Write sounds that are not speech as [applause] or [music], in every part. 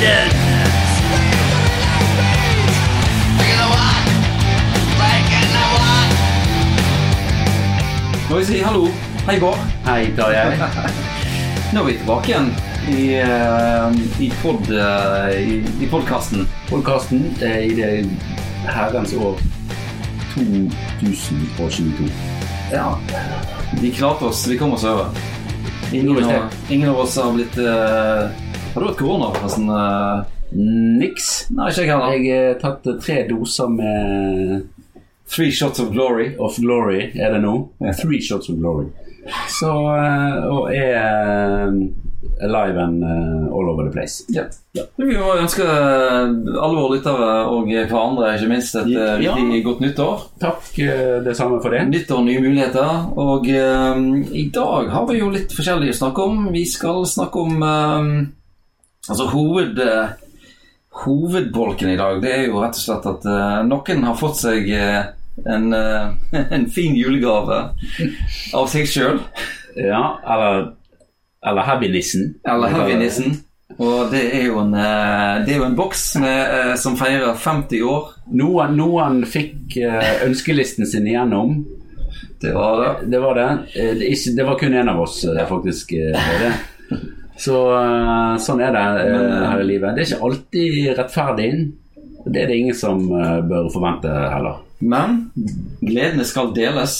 Sweden. Må vi si hallo. Hei, Bård. Hei, Tarjei. [laughs] Nå er vi tilbake igjen i, eh, i, pod, eh, i, i podkasten. Podkasten eh, i det herrens år 2022. Ja. Vi klarte oss. Vi kom oss over. Ingen, Gjorde av, ingen av oss har blitt eh, Har du hatt korona, forresten? eh? Niks. nei, ikke jeg heller. Jeg har tatt eh, tre doser med Three shots of glory. Of Glory, er det nå. Three Shots of Glory. Så eh, Og er eh, alive and eh, all over the place. Ja. Vi må ønske eh, alle våre lyttere og hverandre ikke minst et eh, Ja. riktig godt nyttår. Takk, eh, det samme for det. Nytt år, nye muligheter. Og eh, i dag har vi jo litt forskjellig å snakke om. Vi skal snakke om eh, Altså hoved, eh, hovedbolken i dag, det er jo rett og slett at eh, noen har fått seg eh, en, eh, [laughs] en fin julegave av seg sjøl. Ja, eller Eller Heavy-nissen. Eller heavynissen. Og det er jo en, eh, det er jo en boks med, eh, som feirer 50 år. Noen, noen fikk eh, ønskelisten sin igjennom. Det var det. Det var det. Eh, det, er ikke, det var kun én av oss, eh, faktisk. eh, det er det. Så eh, sånn er det eh, Men, eh, her i livet. Det er ikke alltid rettferdig. Det er det ingen som eh, bør forvente heller. Men gledene skal deles.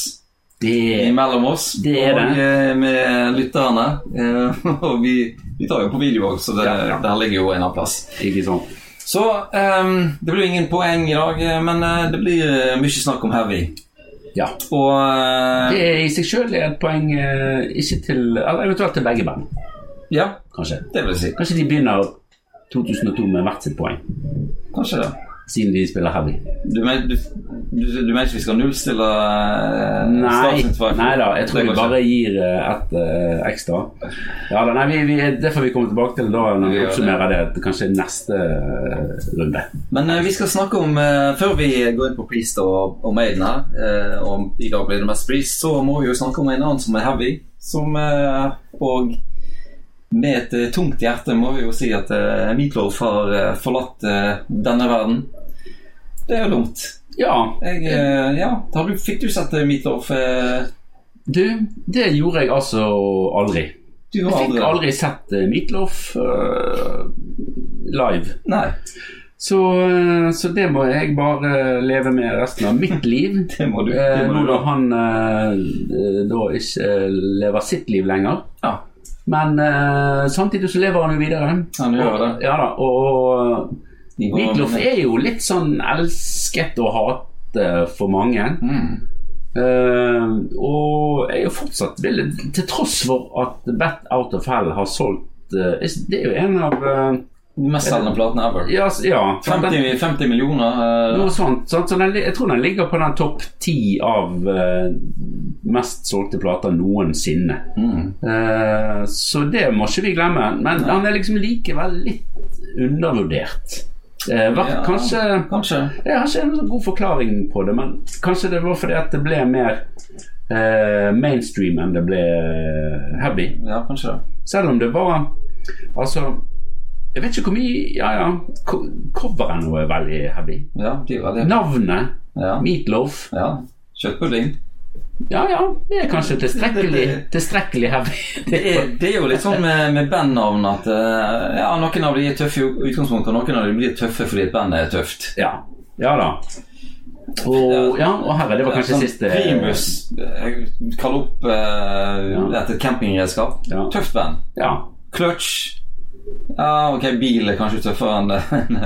Det mellom oss Det er det. og eh, med lytterne. Eh, [laughs] Og vi, vi tar jo på video òg, så det, Ja, ja. der ligger jo en annen plass. ikke sånn. Så ehm, det blir jo ingen poeng i dag, eh, men eh, det blir eh, mye snakk om heavy. Ja. Og Det eh, er i seg sjøl et poeng, eh, ikke til Eller eventuelt til begge band, Ja, kanskje. det vil jeg si. Kanskje de begynner 2002 med hvert sitt poeng, Kanskje det. siden de spiller heavy. Du mener, du, du, du mener ikke vi skal nullstille eh, Nei, Starting Five? nei da, jeg tror Det vi går bare gir eh, ett eh, ekstra. Ja da, nei, vi, vi, Det får vi komme tilbake til da når vi Vi gjør oppsummerer det. Kanskje neste eh, runde. Men eh, vi skal snakke om eh, Før vi går inn på Priest og, og Maiden her, eh, og i dag blir det mest Priest, så må vi jo snakke om en annen som er heavy. Som eh, Og med et eh, tungt hjerte må vi jo si at eh, Meatloaf har eh, forlatt eh, denne verden. Det er jo dumt. Ja, Jeg, eh, ja, har du, fikk du sett eh, Meatloaf? Eh, du, det gjorde jeg altså aldri. du Jeg har fikk aldri aldri sett eh, Meatloaf eh, live. Nei, Så, eh, så det må jeg bare leve med resten av mitt liv. [laughs] det må du. Eh, Det må Nå du. når han eh, da ikke eh, lever sitt liv lenger. Ja, Men eh, samtidig så lever han jo videre. han gjør det. Ja da, og De går- Meatloaf er jo litt sånn elsket og hatet for mange. Mm. Eh, og jeg er jo fortsatt veldig Til tross for at Bat Out of Hell har solgt eh, Det er jo en av eh, Den mest selgende platen ever. Ja, s- ja sant, den, 50, 50 millioner. eh, noe sånt. Sant? Så den, li- jeg tror den ligger på den topp ti av eh, mest solgte plater noensinne. Mm. Eh, så det må ikke vi glemme. Men han er liksom likevel litt undervurdert. Eh, vært, Ja. Kanskje Kanskje. Jeg har ikke en så god forklaring på det, men kanskje det var fordi at det ble mer eh, mainstream enn det ble eh, heavy. Ja, kanskje det. Selv om det var Altså, jeg vet ikke hvor mye Ja, ja. co- Coveren nå er veldig heavy. Ja, de er veldig Navnet Ja. Meatloaf ja. Kjøttpudding. Ja, ja, det er [laughs] kanskje tilstrekkelig, tilstrekkelig heavy. Det er, det er jo litt sånn med, med bandnavn at eh, ja, noen av de er tøffe i utgangspunktet, og noen av de blir tøffe fordi et band er tøft. Ja, ja da. Og, ja, og herre, det var kanskje Sånn siste Primus. eh, Kall opp eh, Ja. dette campingredskap. Ja. Tøft band. Ja. Clutch. Ja, ok, bil er kanskje tøffere enn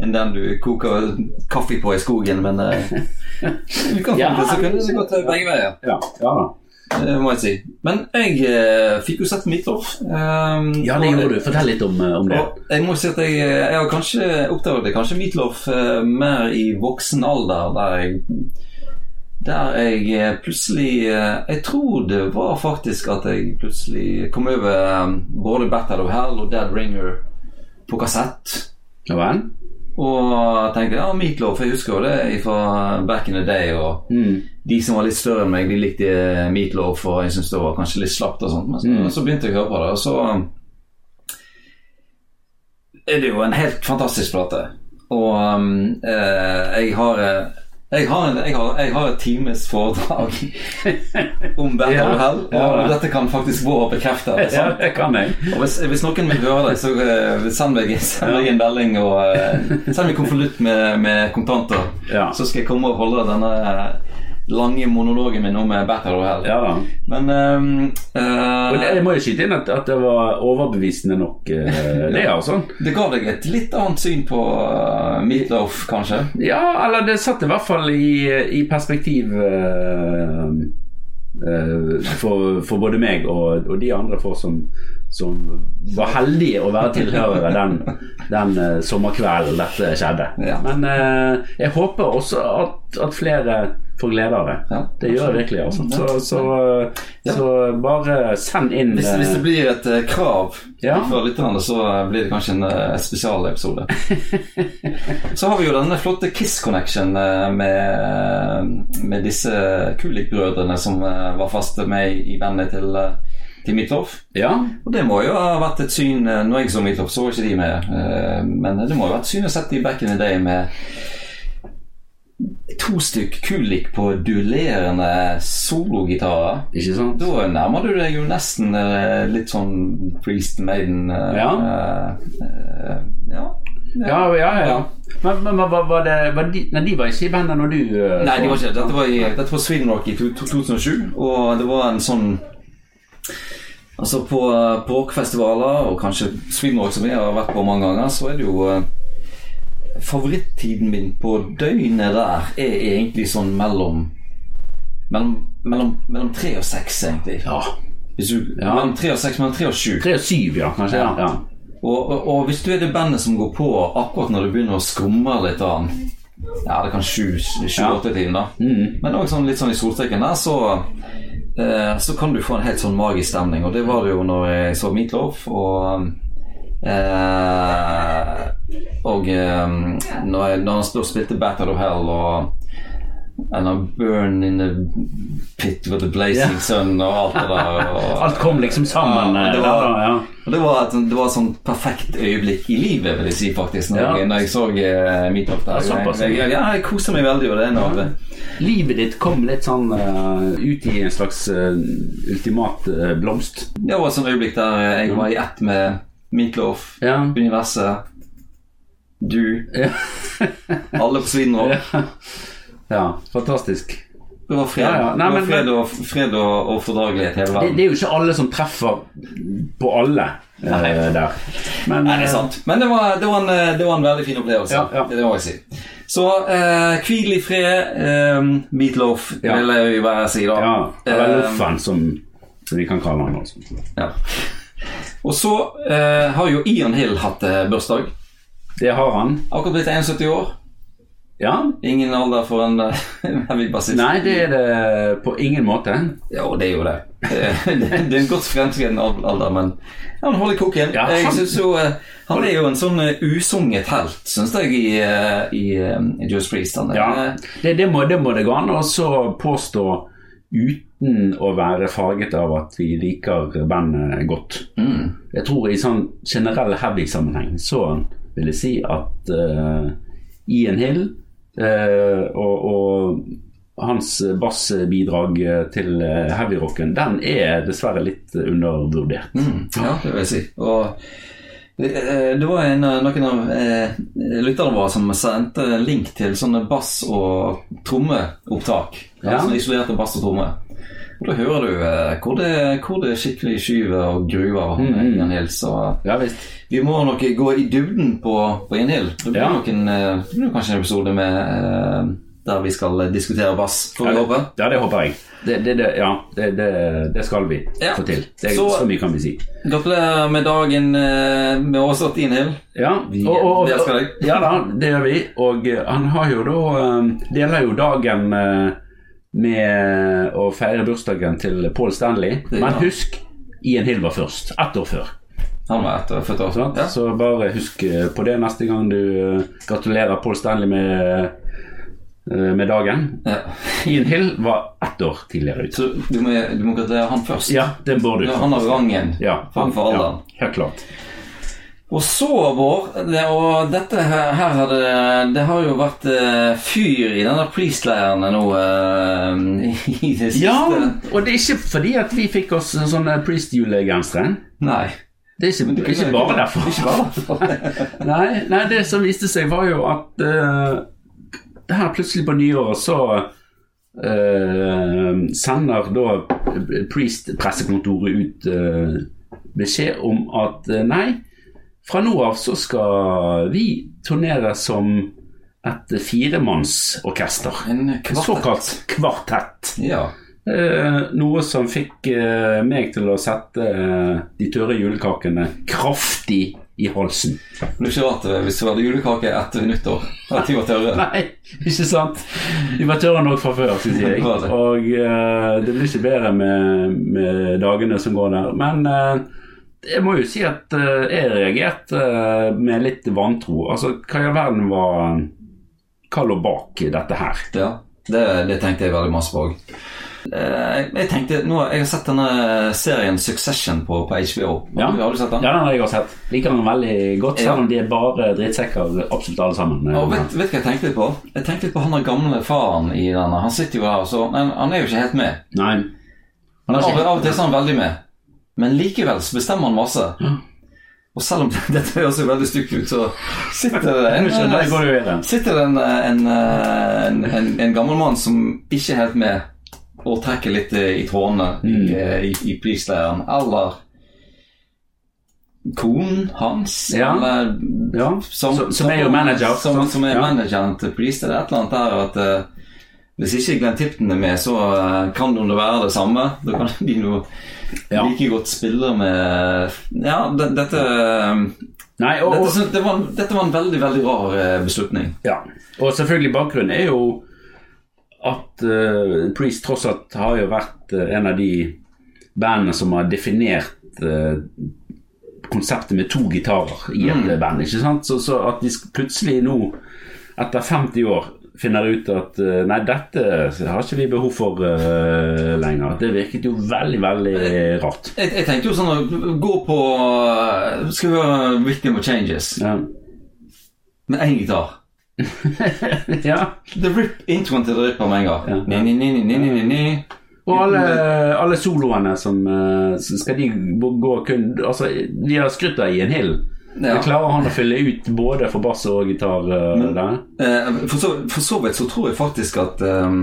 enn [laughs] den du koker kaffe på i skogen, men [laughs] eh, i utgangspunktet Ja. så kunne det så gått eh, begge veier. Ja, ja da. Det Eh, må jeg si. Men jeg eh, fikk jo sett Midtloff. Um, Ja, det gjorde du. Fortell litt om, eh, om det. Og jeg må si at jeg, eh, jeg har kanskje oppdaget det kanskje Meatloaf eh, mer i voksen alder, der jeg, der jeg eh, plutselig eh, Jeg tror det var faktisk at jeg plutselig kom over eh, både Battle of Hell og Dead Ringer på kassett. Ja vel? Og tenkte ja, Meatloaf, jeg husker jo det fra back in the day. og Mm. de som var litt større enn meg, de likte Meatloaf, og jeg syntes det var kanskje litt slapt og sånt. Men så, Mm. så begynte jeg å høre på det, og så er det jo en helt fantastisk plate. Og um, eh, jeg har eh, jeg har, en, jeg, har, jeg har et times foredrag [laughs] om Battle Ja, of Hell, og ja. dette kan faktisk vår bekrefte. Det er Ja, sant? det kan jeg. Og hvis, hvis noen vil høre deg, så eh, send meg, [laughs] send meg en melding og eh, send meg konvolutt med, med kontanter. Ja. Så skal jeg komme og holde denne eh, lange monologen min om eh, Battle of Hell. Ja da. Men ehm, eh, Og det, jeg må jo skyte inn at, at det var overbevisende nok, eh, det, altså. det ga deg et litt annet syn på uh, Meatloaf, kanskje? Ja, eller det satt i hvert fall i, i perspektiv eh, eh, for, for både meg og, og de andre få som, som var heldige å være tilhørere den, den eh, sommerkvelden dette skjedde. Ja. Men eh, jeg håper også at, at flere får glede av det. Ja, Det gjør det virkelig. Altså. Så, så, eh, Ja. så bare send inn Hvis, hvis det eh, blir et eh, krav Ja. fra lytterne, så eh, blir det kanskje en eh, spesialepisode. [laughs] så har vi jo denne flotte Kiss Connection eh, med, med disse Kulik-brødrene som eh, var fast med i bandet til, eh, til Midtloff. eh, Ja, Og det må jo ha vært et syn eh, Når jeg så Midtloff, så var ikke de med, eh, men det må jo ha vært et syn å sette de back in the day med to stykk Kulik på duellerende sologitarer. ikke sant? Da nærmer du deg jo nesten eh, litt sånn Priest Maiden eh, Ja. eh, eh, ja. Ja, ja, ja. Men, men var, var det, var de, nei, de var ikke i bandet når du eh, Nei, det var så- ikke Dette var, i, dette var Sweden Rock i to, to, 2007, og det var en sånn Altså På eh, på rockfestivaler, og kanskje Sweden Rock, som jeg har vært på mange ganger, så er det jo eh, Favorittiden min på døgnet der er egentlig sånn mellom Mellom, mellom, mellom tre og seks, egentlig. Ja. Hvis du, Ja. Mellom tre og seks, mellom tre og sju. 3 og 7, ja, kanskje. Ja. Ja. Og, og, og hvis du er det bandet som går på akkurat når det begynner å skrumre litt av den Ja, det kan Ja. 7-8-tiden, da. Mm. Men òg sånn, litt sånn i solstreken der, så eh, Så kan du få en helt sånn magisk stemning, og det var det jo når jeg så Meatloaf, og eh, Og eh, når, jeg, når han stod og spilte Battle of Hell og And I burn in the pit with the blazing Ja. sun og alt det der. Og, [laughs] Alt kom liksom sammen. Ja, eh, det der, var- da, ja. og det var, et, sånt- det var et sånn perfekt øyeblikk i livet, vil jeg si, faktisk, når, Ja. jeg, når jeg så uh, Meetup der. Ja, såpass, ja. jeg, jeg, ja, jeg koser meg veldig, og det er noe av det. Livet ditt kom litt sånn eh, ut i en slags eh, ultimat eh, blomst. Det var et sånt øyeblikk der eh, jeg var i ett med Meatloaf, Ja. universet, du, Ja. [laughs] alle på Sweden Rock. ja, fantastisk. Det var fred, Ja, ja. Nei, det var men- fred, og, fred og, og fordragelighet hele Det, verden. det er jo ikke alle som treffer på alle eh, Nei. der. Men, Nei, det er sant. Men det var, det var, en, eh, det var en veldig fin opplevelse. Ja, ja. Det må jeg si. Så eh, hvil i fred, eh, Meatloaf, Ja. vil jeg jo bare si da. Ja, eller Eh, Loffen, som, som vi kan kalle han. altså. Også. Ja. Og så eh, har jo Ian Hill hatt eh, bursdag. Det har han. Akkurat blitt 71 år. Ja. Ingen alder for en eh, [laughs] heavy bassist. Nei, det er det på ingen måte. Ja, og det er jo det. [laughs] Eh, det er en godt fremskreden al- alder, men han holder koken. Ja, jeg han- synes jo, eh, han er jo en sånn eh, usunget helt, syns jeg, i, eh, i, eh, i Juice Priest. Han Eh, er, Ja, det, det, må, det må det gå an å så påstå uten å være farget av at vi liker bandet godt. Mm. Jeg tror i sånn generell heavy-sammenheng så vil jeg si at eh, Ian Hill eh, og, og hans bassbidrag til eh, heavy-rocken, den er dessverre litt undervurdert. Mm, ja, det vil jeg si. Og det, eh, det var en, av- noen av eh, lytterne våre som sendte en link til sånne bass- og trommeopptak. Ja. Ja. Sånne isolerte bass og tromme. Og da hører du eh, hvor, det, hvor det skikkelig skyver og gruver Mm, mm. mm. Ian Hill. Så Ja visst. vi må nok gå i dybden på, på Ian Hill. Det blir Ja. nok en, eh, det blir nok kanskje en episode med, eh, der vi skal eh, diskutere bass, får Ja, vi det, håpe. ja, det håper jeg. Det, det, det, ja, det, det, det skal vi Ja. få til. Det er Så- så mye kan vi si. Gratulerer med dagen eh, med overstått Ian Hill. Ja, Vi- vi elsker deg. ja da, det gjør vi. Og eh, han har jo da eh, Deler jo dagen eh, med å feire bursdagen til Paul Stanley. Det gjør Men han. husk, Ian Hill var først. Ett år før. Han var ett år, født år. Sant? Ja. Så bare husk eh, på det neste gang du eh, gratulerer Paul Stanley med, eh, med dagen. Ja. Ian Hill var ett år tidligere ute. Så du må, du må gratulere han først? Ja, det bør du. Ja, Han har rangen Ja, framfor alderen. Ja, helt klart. Og så, Bård det, Og dette her, her har det, det har jo vært eh, fyr i denne priestleiren nå eh, [laughs] i det siste. Ja, og det er ikke fordi at vi fikk oss eh, sånne priest-julegensere. Nei. Det er ikke, det er ikke bare derfor. Ikke bare derfor. [laughs] Nei, nei, det som viste seg var jo at eh, her plutselig på nyåret så eh, sender da priest-pressekontoret ut eh, beskjed om at eh, nei, fra nå av så skal vi turnere som et firemannsorkester. En Et kvartett. såkalt kvartett. Ja. Eh, noe som fikk eh, meg til å sette eh, de tørre julekakene kraftig i [laughs] halsen. Men det er ikke rart eh, hvis det var julekake etter nyttår. At de var tørre. Nei, ikke sant? De var tørre nok fra før, synes jeg. Bra det. Og eh, det blir ikke bedre med, med dagene som går der. Men eh, jeg må jo si at eh, jeg reagerte eh, med litt vantro. Altså, hva i all verden var Hva lå bak dette her? Ja, det, det tenkte jeg veldig masse på òg. Jeg, jeg tenkte, nå, jeg har sett denne serien Succession på, på HBO. Ja. Har du sett den? Ja, den har jeg også sett. Liker den veldig godt, Ja. selv om de er bare drittsekker, absolutt alle sammen. Og vet, vet du hva jeg tenkte litt på? Jeg tenkte litt på han der gamle faren i denne. Han sitter jo der, og så Men han er jo ikke helt med. Nei. Han Av, har ikke- av og til så er han veldig med. Men likevel så bestemmer han masse. Ja. Og selv om [laughs] dette høres jo veldig stygt ut, så sitter det en, Nå skjønner jeg hvor du er den. sitter det en, en, en, en, en gammel mann som ikke er helt med, og trekker litt eh, i trådene Mm. i, eh, i, i prisleiren. Eller konen hans, Ja. eller Ja. Som, som, er jo manager. Som, sant? som er ja. manageren til Priest. Det er et eller annet der at eh, hvis ikke Glenn Tipton er med, så eh, kan det jo være det samme. Da kan de jo Ja. like godt spille med Ja, det, dette, Nei, og, dette, og, syns- det var, en- dette var en veldig, veldig rar eh, beslutning. ja. og selvfølgelig bakgrunnen er jo at eh, Priest tross alt har jo vært eh, en av de bandene som har definert eh, konseptet med to gitarer i et eh, band. ikke sant? Så, så at de sk- plutselig nå, etter 50 år, finner ut at eh, nei, dette har ikke vi behov for eh, lenger. Det virket jo veldig, veldig rart. Jeg, jeg tenkte jo sånn å gå på eh, Skal vi høre Victim of Changes Ja. [laughs] med én gitar. ja. The Rip, Introen til The Ripper med en gang. Ja. Ni, ni, ni, ni, ni, ni, ni. Og alle, alle soloene som eh, Skal de gå kun Altså, vi har skrytt av Ian Hill. Ja. Klarer han å fylle ut både for bass og gitar eh, der? Eh, for, så, for så vidt så tror jeg faktisk at ehm,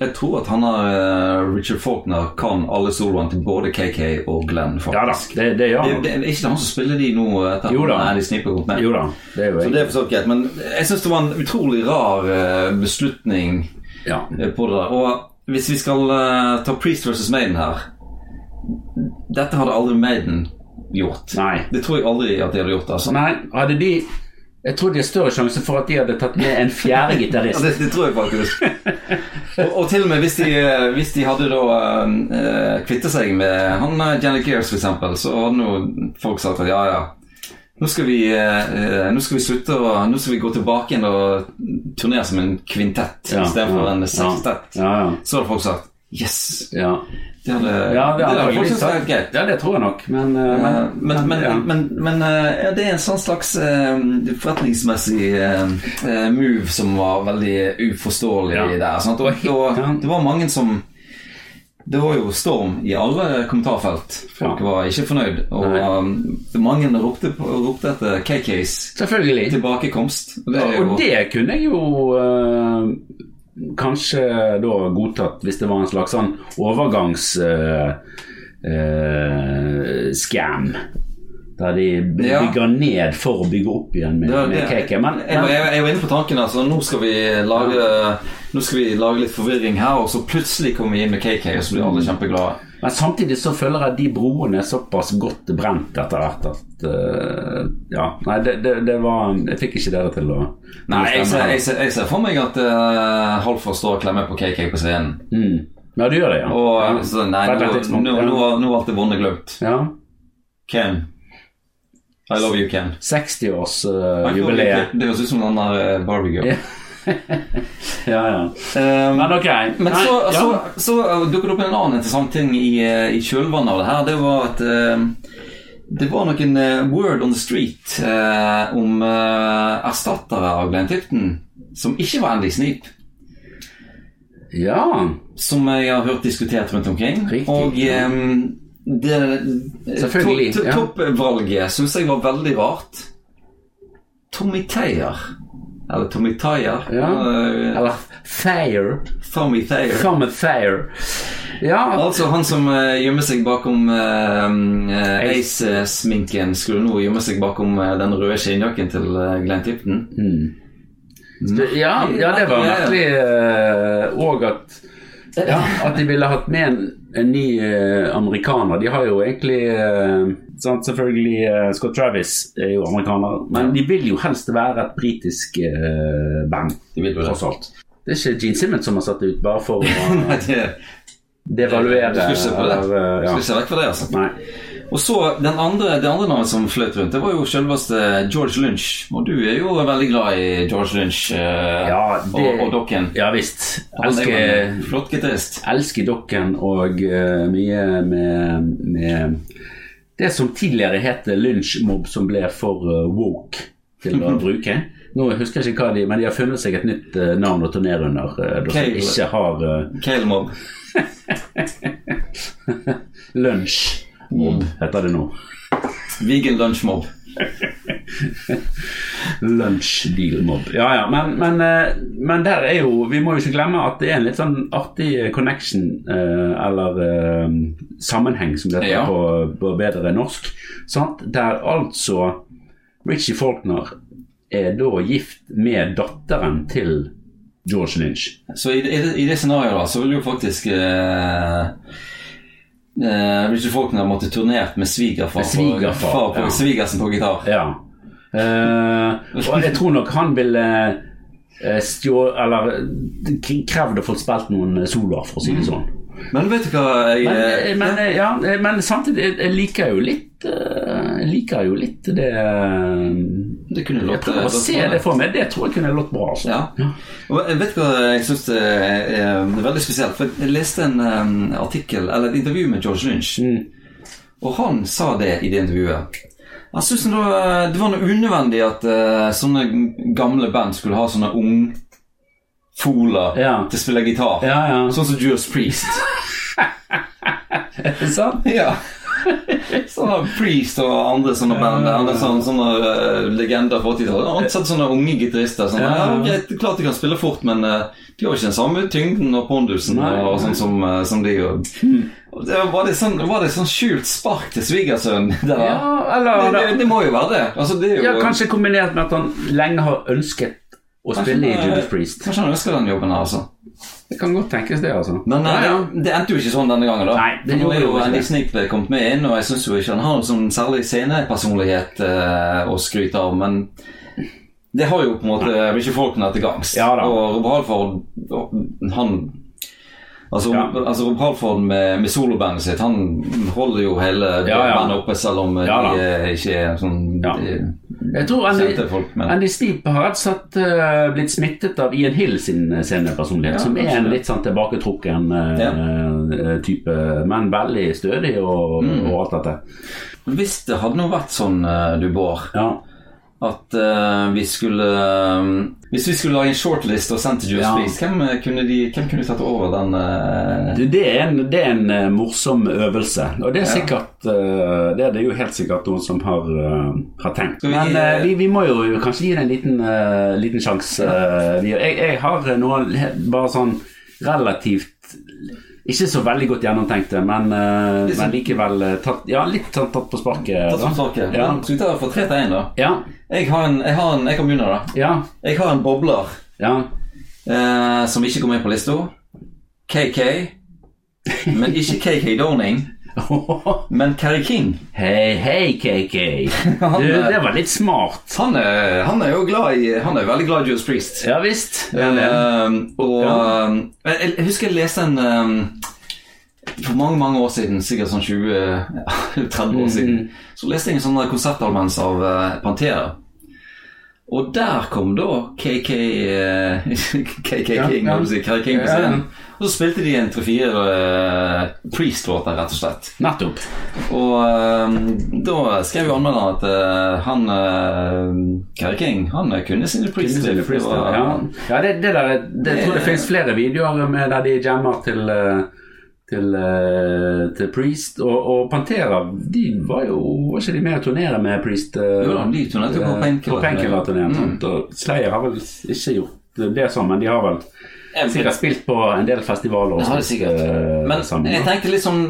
Jeg tror at han har eh, Richard Faulkner kan alle soloene til både KK og Glenn, Ja da, faktisk. det, det gjør det, han. det, er ikke han som spiller de nå? eh, Etter Jo da. Nei, de sniper godt med. Jo da, det er jo Så jeg. det er for så vidt greit. Men jeg syns det var en utrolig rar eh, beslutning Ja. eh, på det der. Og hvis vi skal eh, ta Priest versus Maiden her Dette hadde aldri Maiden gjort. Nei. Det tror jeg aldri at de hadde gjort. Altså. Nei, hadde de Jeg tror de har større sjanse for at de hadde tatt med en Ja, fjerde gitarist. det, det tror jeg faktisk. og, og til og med hvis de, eh, hvis de hadde da eh, kvittet seg med han eh, Janet Gears, for eksempel, så hadde nå folk sagt at ja, ja. Nå skal, vi, eh, eh, nå skal vi slutte å Nå skal vi gå tilbake igjen og turnere som en kvintett [laughs] Ja, istedenfor ja, en ja. sekstett. Ja, ja. Så hadde folk sagt yes. Ja, Det hadde, ja det, det er hadde folk antageligvis syntes var helt greit. Ja, det tror jeg nok, men, eh, Eh, men, Men, men, ja. men, men eh, ja, det er en sånn slags eh, forretningsmessig eh, eh, move som var veldig uforståelig Ja. der. Sant? Og, og Ja. det var mange som Det var jo storm i alle kommentarfelt. Folk Ja. var ikke fornøyd. Og Nei. eh, mange ropte, på- ropte etter KKs Selvfølgelig. tilbakekomst. Og det er Ja, jo Og det kunne jeg jo eh, kanskje da godtatt hvis det var en slags sånn overgangs eh, eh, scam. Der de b- Ja. bygger ned for å bygge opp igjen med, Ja, det- med cake. Men, jeg, var- men jeg, var- jeg var inne på tanken altså, nå skal, vi lage, nå skal vi lage litt forvirring her, og så plutselig kommer vi inn med KK, og så blir alle kjempeglade. Men samtidig så føler jeg de broene er såpass godt brent etter hvert at eh, Ja, nei, det, det, det var Jeg fikk ikke dere til å Nei, jeg stemme ser, heller. jeg, ser, jeg ser for meg at uh, Halvor står og klemmer på KK på scenen. Mm. Ja, du gjør det, ja. Og eh, ja. så, altså, nei, nå, På et eller annet nå, tidspunkt, nå, ja. nå er alt det vonde glemt. ja. Ken. I love you, Ken. 60-årsjubileet. Det høres ut som den der eh, Barbie girl. eh, [laughs] Ja. ja, ja. Eh, Men ok. men Nei, så, ja. så, så eh, dukker det opp en annen interessant ting i, eh, i kjølvannet av det her. Det var at eh, Det var noen eh, word on the street eh, om eh, erstattere av Glenn Tipton som ikke var Andy Sneap. Ja. Som jeg har hørt diskutert rundt omkring. Riktig. Og ehm, det Selvfølgelig, to- to- ja. Toppvalget syns jeg var veldig rart. Tommy Tayer. Eller Tommy Tayer. Ja. eh, Eller Thayer. Tommy Tayer. Samme Thayer. Ja. Altså Han som eh, gjemmer seg bakom uh, Ace. Ace-sminken, skulle nå gjemme seg bakom eh, den røde skinnjakken til eh, Glenn Tipton. Mm. Det- Ja, ja, det var merkelig. eh, Og at ja, At de ville hatt med en, en ny eh, amerikaner. De har jo egentlig eh, sant, Selvfølgelig eh, Scott Travis er jo amerikaner, men de vil jo helst være et britisk eh, band, De vil jo det. tross alt. Det er ikke Gene Simmons som har satt det ut, bare for [laughs] å Nei, det, devaluere Du skal ikke se på det. eller, eh, skal ja. ikke se vekk fra det, altså. Nei. Og så den andre, Det andre navnet som fløt rundt, det var jo selveste George Lynch. Og du er jo veldig glad i George Lynch eh, Ja, det- og, og dokken. Ja visst. Han er jo Elsker en flott gitarist. elsker dokken og eh, mye med, med det som tidligere het lunsjmobb, som ble for eh, woke til [laughs] å bruke. Nå husker jeg ikke hva de Men de har funnet seg et nytt eh, navn å turnere under. eh, da som Cable. ikke har eh, Cale Mobb. lunsjmobb, heter det nå. Vegan Lunch Mobb. Lunsjdealmobb. Ja ja, men, men, eh, men der er jo Vi må jo ikke glemme at det er en litt sånn artig eh, connection, eh, eller eh, sammenheng, som det heter Ja. på, på bedre norsk, sant? der altså Richie Faulkner er da gift med datteren til George Lynch. Så i, i, det- i det scenarioet da, så ville jo faktisk eh, eh, Richard Faulkner måtte turnert med svigerfar, Med svigerfar, på, far på ja. svigersen på gitar. Ja. Eh, og jeg tror nok han ville eh, stjå... Eller eh, krevd å få spilt noen soloer, for å si det sånn. Men vet du hva jeg, eh, Men, men, ja, men samtidig, eh, jeg- jeg liker jo litt eh, Jeg liker jo litt det eh, Det kunne Jeg låte prøver å låte se bra, det for meg. Det tror jeg kunne lått bra. Altså. Ja. Og jeg vet hva jeg syns det er det er veldig spesielt. For jeg leste en em, artikkel, eller et intervju med George Lynch, Mm. og han sa det i det intervjuet. Han syntes det var, det var noe unødvendig at eh, sånne gamle band skulle ha sånne ungfoler Ja. til å spille gitar. Ja, ja. Sånn som Judas Priest. [laughs] sant? ja. Sånne Priest og andre sånne band. Andre sånne, sånne eh, legender fra 80-tallet. Ansatt sånne unge gitarister. Sånn, Ja, ja, ja, ja. greit, klart de kan spille fort, men eh, de har ikke den samme tyngden og pondusen Nei, Hmm. og nei. sånn som, eh, som de gjør. Og det Var det sånn, var det sånn skjult spark til svigersønnen? [laughs] det der? Ja, det, eller det, det må jo være det. Altså, det er jo, ja, Kanskje kombinert med at han lenge har ønsket å spille i Kanskje- Judas Priest. Kanskje han ønsker den jobben her, altså. Det kan godt tenkes, det, altså. Men eh, ja, ja. Det, det endte jo ikke sånn denne gangen, da. Nei, det For nå gjorde er jo jo ikke Andy det. Snip kommet med inn, og jeg syns jo ikke han har noen sånn særlig scenepersonlighet eh, å skryte av, men det har jo på en måte Richie Faulkner til gangs. Ja da. og Rob Halford og han Altså, Ja. altså Rob Halford med, med solobandet sitt, han holder jo hele Ja, ja. bandet oppe, selv om eh, Ja da. de eh, ikke er sånn Ja. de, Jeg tror kjente Andy, folk. Men Andy Steep har rett og slett eh, blitt smittet av Ian Hill sin eh, scenepersonlighet, Ja, som er kanskje en det. litt sånn tilbaketrukken eh, eh, type, men veldig stødig og, Mm. og alt dette. hvis det hadde nå vært sånn, eh, du, Bård Ja. at eh, vi skulle eh, Hvis vi skulle lage en shortlist og sendt til Juice Ja. Priest, hvem eh, kunne, de, hvem kunne tatt over den eh, Du, Det er en, det er en eh, morsom øvelse, og det er sikkert eh, Det er det jo helt sikkert noen som har, eh, har tenkt. Skal vi Men gi- eh, vi, vi må jo kanskje gi det en liten, eh, liten sjanse. eh, vi- jeg, jeg har noen he- bare sånn relativt ikke så veldig godt gjennomtenkte, men, eh, Liksom- men likevel eh, tatt, ja, litt sånn tatt på sparket. Tatt som da. saken? Ja. Skal vi ta det fra tre til én, da? Ja, Jeg har en, jeg har en, jeg kan begynne, da. ja, Jeg har en bobler ja. eh, som ikke går med på lista. KK. Men ikke KK Downing, men Carrie King. [laughs] Hei, hei, KK. [laughs] Du, det var litt smart. Han er, han er jo glad i Han er veldig glad i Juice Priest. Ja visst. Eh, Ehm, og ehm, jeg, jeg husker jeg leste en ehm, For mange mange år siden, sikkert sånn [laughs] Mm. 20-30 år siden, så leste jeg en sånn der konsertalmens av eh, Pantera. Og der kom da KK eh, [laughs] KK Ja, King, ja. holdt jeg på å si, Kerry King på Ja, ja. scenen. Og så spilte de en tre-fire eh, Priest-låter, rett og slett. Nettopp. Og eh, da skrev jo anmelderen at eh, han eh, Kerry King, han kunne sine Freestyle, Priest-riff. freestyle, og- Ja, ja det, det der det, Jeg tror det finnes flere videoer med der de jammer til eh, til, eh, til Priest og, og Pantera. De var jo Var ikke de med å turnere med Priest? eh, Jo da, de turnerte jo på eh, Painkiller. Mm. på Painkiller-turneen. sant? Og Slayer har vel ikke gjort det sånn, men de har vel sikkert spilt på en del festivaler. og Det har de spilt, sikkert. eh, Men sammen, jeg da. tenkte litt sånn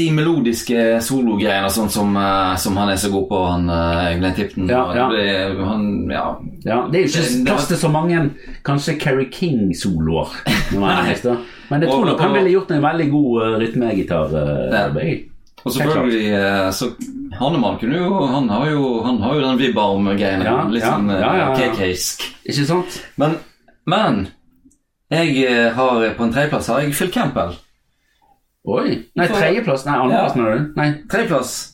de melodiske sologreiene sånn som, eh, som han er så god på, han eh, Glenn Tipton. Ja, og ja. Det, han, ja. ja, det er jo ikke Det- plass til så mange kanskje Kerry King-soloer. når man er Nei. artist, da. Men jeg tror Og- nok han og- ville gjort en veldig god eh, rytmegitar. Ja. Uh, Og selvfølgelig eh, så Hannemann kunne jo Han har jo, han har jo den vibbarm-greien. Ja, litt ja, sånn eh, ja, ja, ja. KK-sk. Ikke sant? Men, men jeg eh, har på en tredjeplass har jeg Phil Campbell. Oi. Nei, Får- tredjeplass. Nei, andreplass, mener du? Nei. Tredjeplass!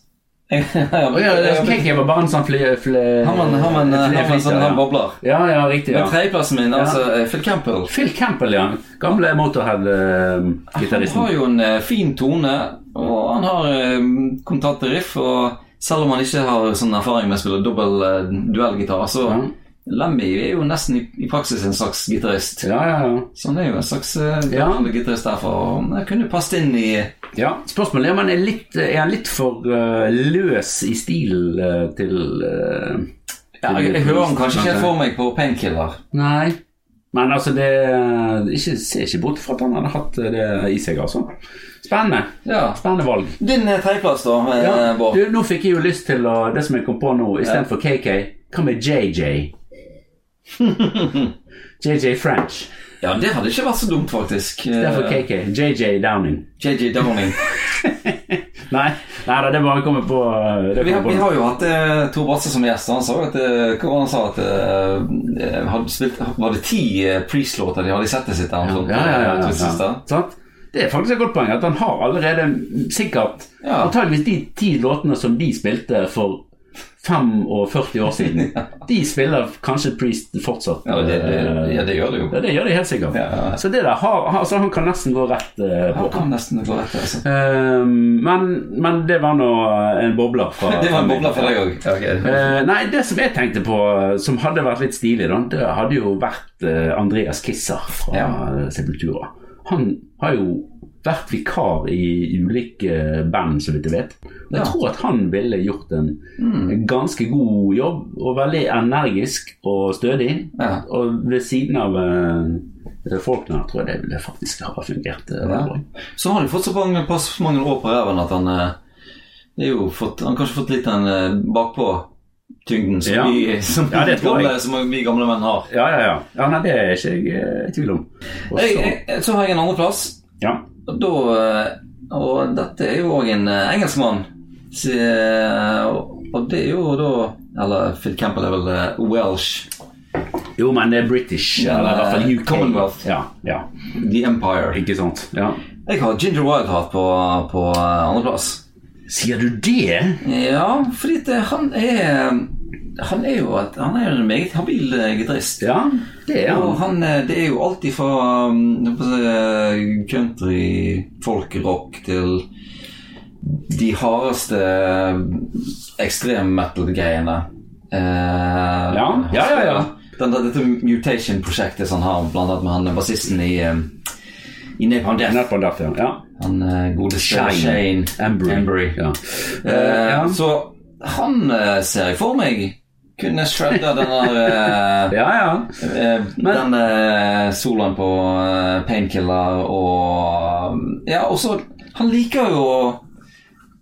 [laughs] Jeg- jeg- Å ja, det er jeg- KK var bare en sånn fly... fly Han var han var en han var en sånn han ja. bobler. ja, ja, riktig. Men ja. tredjeplassen min, altså eh, Phil Campbell Phil Campbell, ja. Gamle eh, Ah, Han Motorhead-gitaristen. har jo en eh, fin tone, og han har eh, kontante riff. Og selv om han ikke har sånn erfaring med å spille dobbel eh, duellgitar, så ja. Lemmy er jo nesten i, i praksis en slags gitarist. ja, ja, ja. Så han er jo en slags eh, Ja. gitarist derfor. Og jeg kunne passet inn i Ja, Spørsmålet er om han er litt, er han litt for eh, løs i stilen eh, til eh, ja, jeg, jeg hører han kanskje ikke helt for meg på Painkiller. Nei. Men altså, det eh, ikke, Ser ikke bort fra at han hadde hatt eh, det i seg, altså. Spennende. Ja. Spennende valg. Din eh, tredjeplass, da, eh, Ja, Bård. du, nå fikk jeg jo lyst til å, det som jeg kom på nå, istedenfor for KK, hva med JJ? [laughs] JJ French. Ja, det hadde ikke vært så dumt, faktisk. Eh, Derfor KK. JJ Downing. [laughs] JJ Downing. Nei, nei da, det bare kommer på det Vi har, kommer vi på. har jo hatt eh, Tor Basse som gjest. og Han sa jo at eh, hva var det han sa at eh, hadde spilt, Var det ti eh, Priest-låter de hadde i settet sitt? eller noe sånt, Ja, ja, ja, eh, ja, til sist, ja. da? Sant? Det er faktisk et godt poeng at han har allerede sikkert Ja. Antageligvis de ti låtene som de spilte for 45 og 40 år [laughs] siden, de spiller kanskje Priest fortsatt. Ja, det, det, eh, ja, det gjør det jo. Ja, det gjør de helt sikkert. Ja, ja, ja. Så det der har, har, så han kan nesten gå rett eh, på. Han kan nesten gå rett altså. Eh, men, men det var nå eh, en bobler fra [laughs] Det var en boble for deg òg. Eh, nei, det som jeg tenkte på, eh, som hadde vært litt stilig, da, det hadde jo vært eh, Andreas Kisser fra Ja. eh, Sepultura. Han har jo vært vikar i ulike eh, band, så vidt jeg vet. Og Ja. jeg tror at han ville gjort en, Mm. en ganske god jobb, og veldig energisk og stødig. Ja. Og ved siden av eh, folkene tror jeg det ville faktisk ha fungert. eh, veldig bra. Så har han jo fått så mange, pass mange år på ræven at han eh, det er jo fått, Han har kanskje fått litt den eh, bakpå-tyngden som, Ja. vi, som, Ja, det tror jeg. gamle, som vi gamle menn har. Ja, ja, ja. ja nei, det er ikke jeg eh, i tvil om. Og Jeg, så, jeg, så har jeg en andreplass. ja. Og da eh, Og dette er jo òg en eh, engelskmann. Så, eh, og- og det er jo da Eller Phil Campbell er vel eh, Welsh. Jo, men det er British, Ja, eller i hvert fall UK. Commonwealth. Ja, ja. The Empire. Ikke sant? Ja. Jeg har Ginger Wildheart på, på eh, andreplass. Sier du det? Ja, fordi det, han er Han er jo et, han er jo en meget habil eh, gitarist. Ja, det er Og han. han, eh, det er jo alltid fra um, jeg får si, eh, country, folkrock til de hardeste eh, ekstrem metal-greiene. Eh, Ja, ja, ja, ja. Den, der- dette Mutation-prosjektet som han har, blant annet med han bassisten i, eh, i Napalm Death. Nettopp derfor, ja. Han eh, godeste Shane. Shane Embry. Embry. Ja. Eh, ja. Så han eh, ser jeg for meg kunne shredda den der eh, ja, ja. Eh, Men- den eh, soloen på eh, Painkiller og Ja, og så Han liker jo å-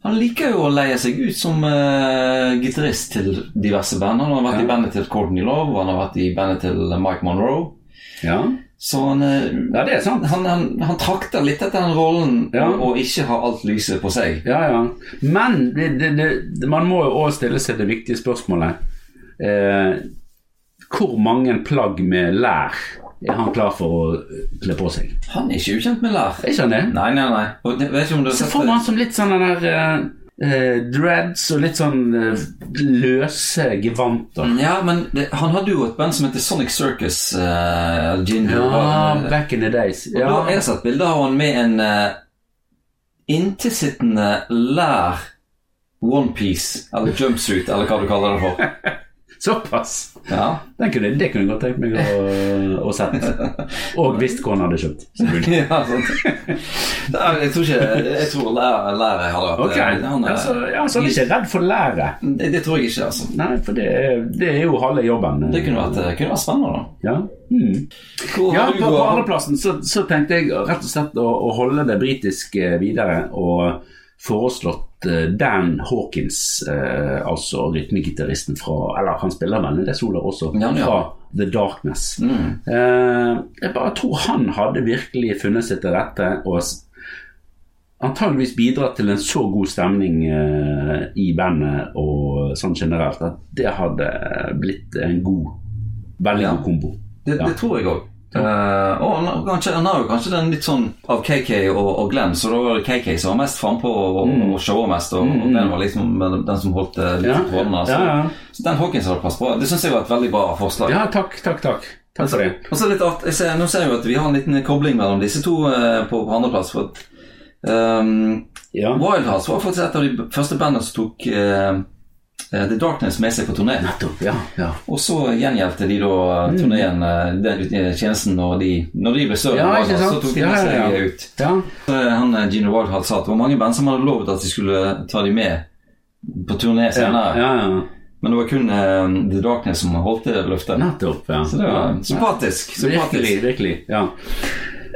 Han liker jo å leie seg ut som eh, gitarist til diverse band. Han har vært Ja. i bandet til Courtney Love, han har vært i bandet til Mike Monroe. Ja, Så han eh, ja det er sant. han, han, han trakter litt etter den rollen Ja. og, og ikke har alt lyset på seg. Ja, ja. Men det, det, det, man må jo også stille seg det viktige spørsmålet. Eh, hvor mange plagg med lær er han klar for å kle på seg? Han er ikke ukjent med lær. Er ikke han det? Nei, nei, nei. Og det- vet ikke om du har Så sett får man som litt sånn den der eh, eh, dreads og litt sånn eh, løse gevanter. Mm, Ja, men det, han hadde jo et band som heter Sonic Circus. eh, Ginger. Ja, var det. back in the days. Og da Ja, har jeg sett bilder av han med en eh, inntilsittende lær onepiece, eller jumpsuit, eller hva du kaller det for. såpass! Ja. [laughs] Den kunne, det kunne jeg godt tenkt meg å, å sett. Og visst hvor han hadde kjøpt. [laughs] selvfølgelig. ja, sant. Det er, jeg tror ikke Jeg tror lær, lærer jeg hadde Ok, vært eh, han, eh, altså, ja, så han er ikke redd for lære. det, det tror jeg ikke, altså. Nei, for det, er- det er jo halve jobben. Det kunne vært, eh, kunne vært spennende, da. Ja, mm. Hvor ja har du på, på gått- andreplassen så, så tenkte jeg rett og slett å, å holde det britiske videre og foreslått eh, Dan Hawkins, eh, altså rytmegitaristen fra Eller han spiller vel det er Sola også, Ja, ja. fra The Darkness. Mm. Eh, jeg bare tror han hadde virkelig funnet seg til rette og s- antageligvis bidratt til en så god stemning eh, i bandet og sånn generelt at det hadde eh, blitt en god, veldig Ja. god kombo. Det, Ja. det tror jeg òg. og han har- kanskje, han har jo kanskje den litt sånn av KK og, og Glenn, så da var det KK som var mest frampå og, og, og showa mest, og, og Glenn var liksom den, den som holdt eh, litt Mm. Ja, i trådene. Så, ja, ja. så den Hawkins hadde passet bra. Det syns jeg var et veldig bra forslag. Ja, takk, takk, takk. Takk for det. Og så litt art, jeg ser, Nå ser jeg jo at vi har en liten kobling mellom disse to eh, på, på andreplass. For at, ehm, Ja. Wild Hearts var faktisk et av de første bandene som tok eh, eh, The Darkness med seg på turné. Nettopp, ja. ja. Og så gjengjeldte de da Mm. turneen, eh, den ut- tjenesten, når de, når de ble større. Ja, enn ikke Wildhearts, sant? Så tok de Ja, med seg ja, ja. ut. ja. Så Han, eh, Gino Wildhart sa at det var mange band som hadde lovet at de skulle ta de med på turné senere. ja, ja. Men det var kun eh, The Darkness som holdt det løftet. Nettopp, ja. Så det var Ja. sympatisk. sympatisk. Virkelig, virkelig. Ja.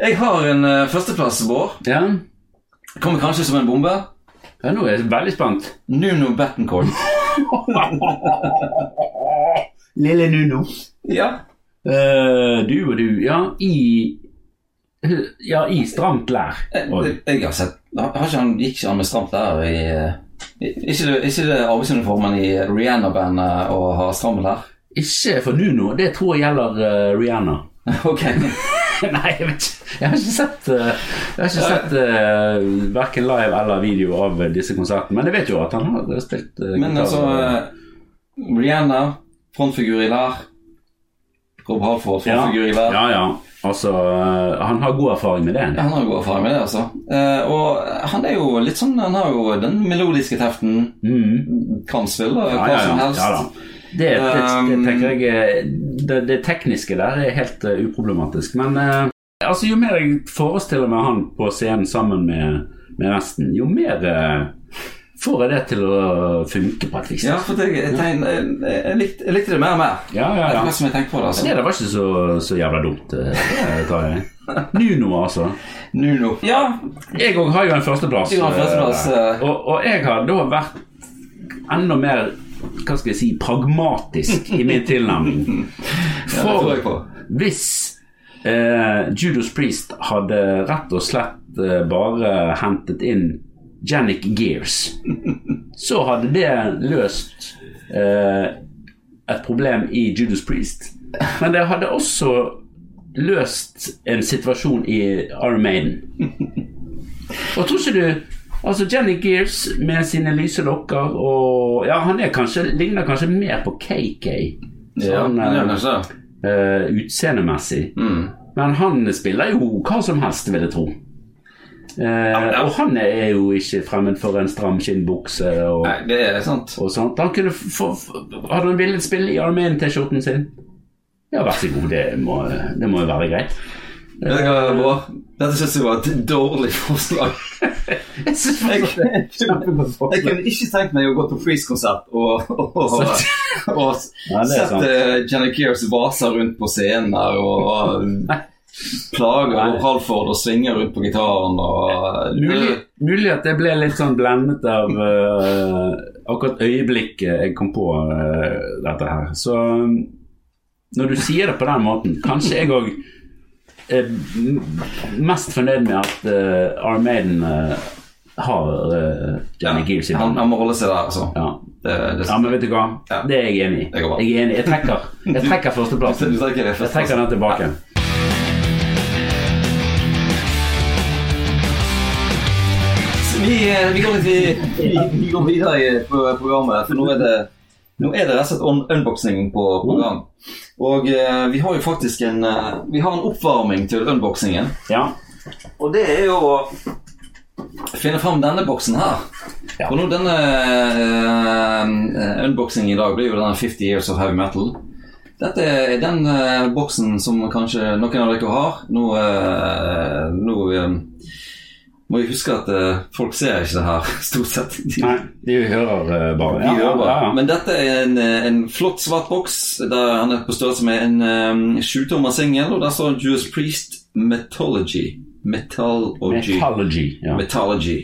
Jeg har en eh, førsteplass, Bård. ja. Kommer kanskje som en bombe. ja, nå er jeg veldig spent. Nuno Bettencourt. Lille Nuno. ja. Eh, du og du, ja, i Ja, i stramt lær. Oi. Jeg, Eh, jeg har sett har har ikke han, Gikk ikke han med stramt der i i- Ikke det, ikke det arbeidsuniformen i Rihanna-bandet og har stramt der? Ikke for Nuno, det tror jeg gjelder eh, Rihanna. [laughs] Ok. [laughs] Nei, jeg vet ikke. Jeg har ikke sett, eh, jeg har ikke sett eh, verken live eller video av disse konsertene. Men jeg vet jo at han har spilt eh, Men gitar. altså eh, Rihanna, frontfigur i lær. Rob Halford, ja. frontfigur i lær. ja, ja. Altså, eh, han har god erfaring med det. Han har jo god erfaring med det, altså. Eh, og han er jo litt sånn Han har jo den melodiske teften. Mm. Kan spille hva Ja, ja, som ja, helst. ja da. Det, det, det Um, tenker jeg eh, det, det tekniske der er helt eh, uproblematisk. Men eh, altså, jo mer jeg forestiller meg han på scenen sammen med, med resten, jo mer eh, får jeg det til å funke på et vis. Ja, for det, jeg, tegn, jeg, jeg, likte, jeg likte det mer og mer. ja, ja. Etter ja. hvert som jeg tenkte på det. Det altså der var ikke så, så jævla dumt. eh, [laughs] Det tar jeg. Nuno, altså. Nuno. Ja, Jeg òg har jo en førsteplass. Du har en førsteplass, eh, eh. Og, og jeg har da vært enda mer hva skal jeg si, pragmatisk i min [laughs] tilnærming. det tror jeg For på. hvis eh, Judas Priest hadde rett og slett eh, bare hentet inn Jannik Gears, så hadde det løst eh, et problem i Judas Priest. Men det hadde også løst en situasjon i Iron Maiden. Og tror ikke du Altså Jenny Gears med sine lyse lokker og Ja, han er kanskje, ligner kanskje mer på KK Ja, sånn men det er eh, kanskje det. eh, utseendemessig. Mm. Men han spiller jo hva som helst, vil jeg tro. Eh, og han er jo ikke fremmed for en stram skinnbukse og, Nei, det er sant. og sånt. Han kunne få, få- hadde han villet spille i Armeen-T-skjorten sin? Ja, vær så god, det må, det må jo være greit. Det er bra. Dette syns jeg var et dårlig forslag. Jeg synes Jeg, [laughs] fortsatt det er jeg, et kjempegodt forslag. kunne ikke tenkt meg å gå på Freeze-konsert og, og, og, og Ja, det er sant. sette Jenny Kears vase rundt på scenen der og Nei. plager Nei. og Halford og svinger rundt på gitaren og Mulig, mulig at jeg ble litt sånn blendet av eh, akkurat øyeblikket jeg kom på eh, dette her. Så um, når du sier det på den måten, kanskje jeg òg er m- mest fornøyd med at uh, Armaden har uh, Johnny Gills i han, bandet. han må holde seg der, altså. Ja. Det, det, ja, men vet du hva? Ja. Det er jeg enig i. Det går bra. Jeg er enig. Jeg trekker, jeg trekker du førsteplassen. trekker det Jeg trekker den tilbake. Så vi, eh, vi, går litt, vi, vi går videre i pro- programmet, for nå er det nå er det rett og slett un- unboxing på program. Og eh, vi har jo faktisk en eh, Vi har en oppvarming til unboxingen. Ja. Og det er jo å finne fram denne boksen her. Ja. Og nå denne eh, unboxingen i dag blir jo denne 50 Years of Heavy Metal. Dette er den eh, boksen som kanskje noen av dere har. Nå, eh, nå eh, må jeg huske at eh, folk ser ikke det her, [laughs] stort sett. De, Nei, de hører eh, bare. de gjør bare. ja, ja. Men dette er en, eh, en flott svart boks. Der han er på størrelse med en eh, sjutommer singel, og der står Juice Priest Metology. Metallology. Metallurgy. Ja. Metallurgy.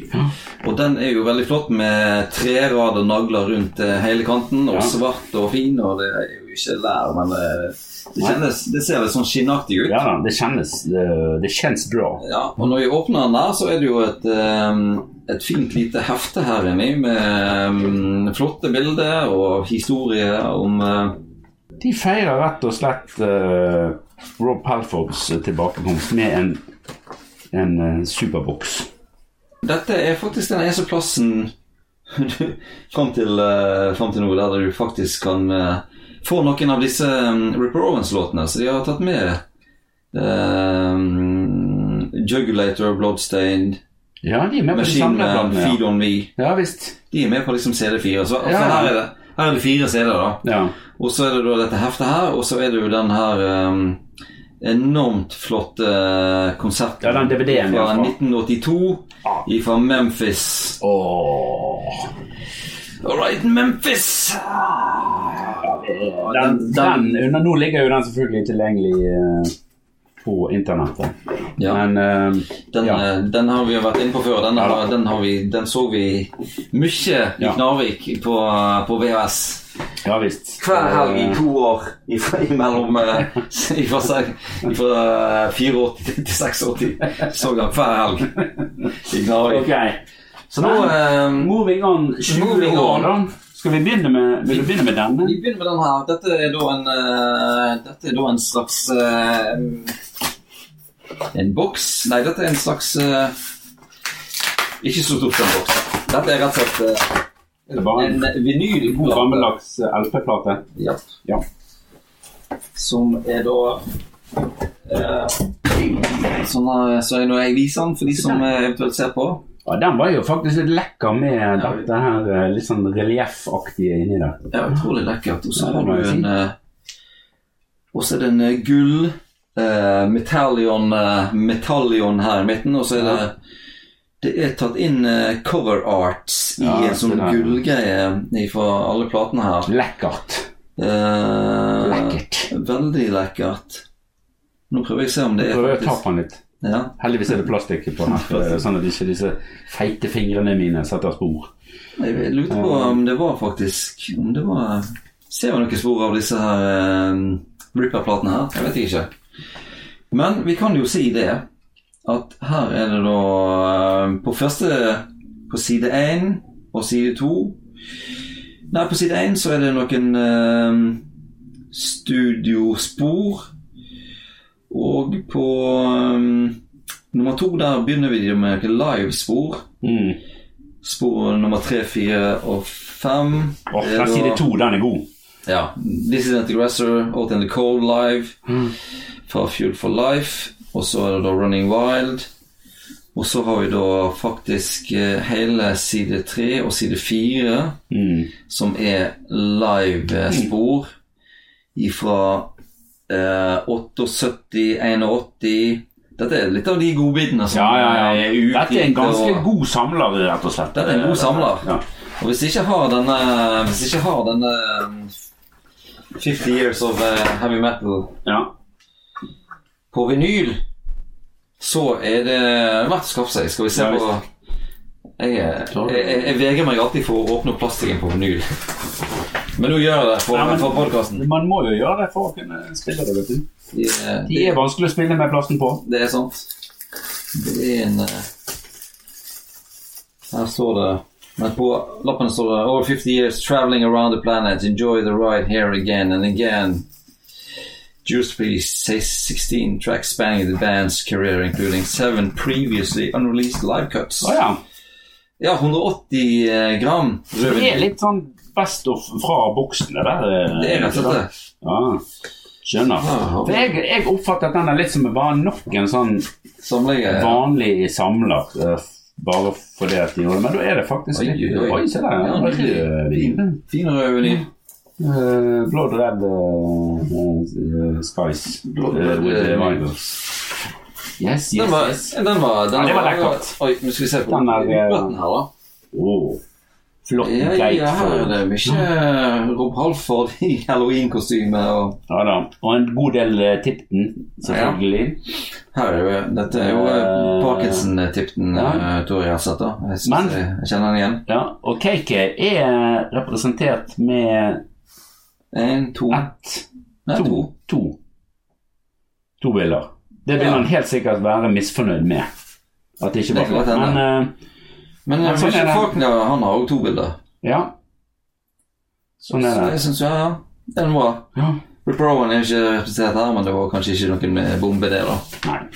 Og den er jo veldig flott med trerader nagler rundt eh, hele kanten, og Ja. svart og fin, og det er jo ikke lær, men eh, det, kjennes, det ser litt sånn skinnaktig ut. ja da, det kjennes, det, det kjennes bra. Ja, og når jeg åpner den her, så er det jo et, eh, et fint lite hefte her inni med eh, flotte bilder og historie om eh, De feirer rett og slett eh, Rob Halfords eh, tilbakekomst med en, en eh, superboks. Dette er faktisk den eneste plassen [laughs] du- fram til, uh, til nå der du faktisk kan eh, få noen av disse um, Ripper Owens-låtene. Så de har tatt med eh, Jugulator, Bloodstained, Ja, de er med på de Machine Man, samlebladene, ja. Feed On Me. Ja visst. De er med på liksom CD4. Så, Ja. så her, er det, her er det fire CD-er, da. Ja. Og så er det da dette heftet her, og så er det jo den her ehm, enormt flotte konseptet Ja, den DVD-en i fra hvert fall. Ah. 1982 fra Memphis. Åh. All right, Memphis! Den, den, under, nå ligger jo den selvfølgelig tilgjengelig eh, på internettet. Ja. Men eh, Den, ja. eh, den har vi jo vært inne på før. Den, har, Ja. den, har vi, den så vi mye i Ja. Knarvik på, på VHS. ja visst. Hver helg i Eh, to år ifra, imellom eh, [laughs] ifra, se- ifra eh, 84 til 86 så han hver helg i Knarvik. Ok. Så Så nå nå eh, Moving on 20 Moving on. år, da. Skal vi begynne med, vil du begynne med denne? Vi begynner med den her. Dette er da en, eh, dette er da en slags eh, En boks? Nei, dette er en slags eh, Ikke så stort en boks. Dette er rett og slett eh, Det er bare en en god vinylplate. gammeldags eh, LP-plate. Ja. Ja. Som er da eh, Sånn eh, så er det når jeg viser den for de som eh, eventuelt ser på. Ja, den var jo faktisk litt lekker med Ja. dette her eh, litt sånn relieffaktige inni der. Ja, utrolig lekkert. Og så Ja, det har må du jeg si. en eh, Og så er det en eh, gull eh, metallion, eh, metallion her i midten, og så er det Ja. Det er tatt inn eh, cover arts i Ja, en sånn det der. gullgreie fra alle platene her. Lekkert. Eh, Lekkert. Veldig lekkert. Nå prøver jeg å se om det Jeg er prøver å ta faktisk på den litt. ja. Heldigvis er det plastikk på den, eh, sånn at ikke disse feite fingrene mine setter spor. Jeg lurte på om det var faktisk Om det var Ser vi noen spor av disse her eh, Ripper-platene her? Jeg vet ikke. Men vi kan jo si det at her er det da eh, På første På side 1 og side 2 Nei, på side 1 så er det noen eh, studiospor. Og på eh, nummer to der begynner vi med noen livespor. Mm. Spor nummer tre, fire og fem. Åh, er da- den side to, den er god. Ja. This is an aggressor, Out in the Cold Live, Mm. fra Fuel for Life. Og så er det da Running Wild. Og så har vi da faktisk eh, hele side tre og side fire, Mm. som er live-spor ifra eh, 78, 81 Dette er litt av de godbitene som Ja, ja, ja. er utgitt. Dette er en ganske og- god samler, rett og slett. Dette er en god samler. Ja. Og hvis ikke jeg har denne Hvis ikke jeg har denne um, 50 Years of eh, Heavy Metal ja. på vinyl, så er det verdt å skaffe seg. Skal vi se Ja, på jeg, er- jeg, jeg, jeg vegrer meg alltid for å åpne opp plastikken på vinyl. Men nå gjør jeg det for, Ja, men- for podkasten. Man må jo gjøre det for å kunne spille det, vet du. Det, er- De er vanskelig å spille med plasten på. det er sant. Det er en eh, Her står det Men på lappen står det Over 50 years traveling around the planet. Enjoy the ride here again and again. Juice Priest says 16 tracks spanning the band's career, including seven previously unreleased live cuts. Å Oh, ja. Ja, 180 eh, gram Det er rødvin. litt sånn best of fra boksen, det der. eh, Det er rett og slett det. Ja, skjønner. Ah, For jeg, jeg oppfattet denne litt som bare nok en sånn Samleie. vanlig samler. eh, Bare fordi at de gjorde det. Men da er det faktisk Oi, litt oi, oi. Oi, se der. Ja, Ja, rødvin. Fin, fin rødvin. Eh, Blood Red uh, Skies Blood Red, with the eh, Rivals. Yes, Den yes, var, yes. den var, den Ja, det var var lekkert. Oi, nå skal vi se på Den er, eh, platen her, da. Åh, Flott Ja, ja, her er gatefold. det Mm. mye Rob Halford i [laughs] halloween-kostyme. Og Ja da. Og en god del eh, Tipton, selvfølgelig. her er jo, dette er jo eh, Parkinson-tipten, Ja. eh, Tore jeg har sett. da. Jeg, Men- synes jeg, jeg kjenner den igjen. Ja, Og KK er representert med En, to, ett, nei, to, to. to. To bilder. Det vil Ja. han helt sikkert være misfornøyd med. At det ikke Det kan var godt hende. Men eh, Men Men eh, sånn er Richard det. Faulkner han har jo to bilder. ja. Sånn er Så det. jeg synes, ja, ja, den var Ja. Rick Rowan er ikke representert her, men det var kanskje ikke noen med bombe, det, da. Nei.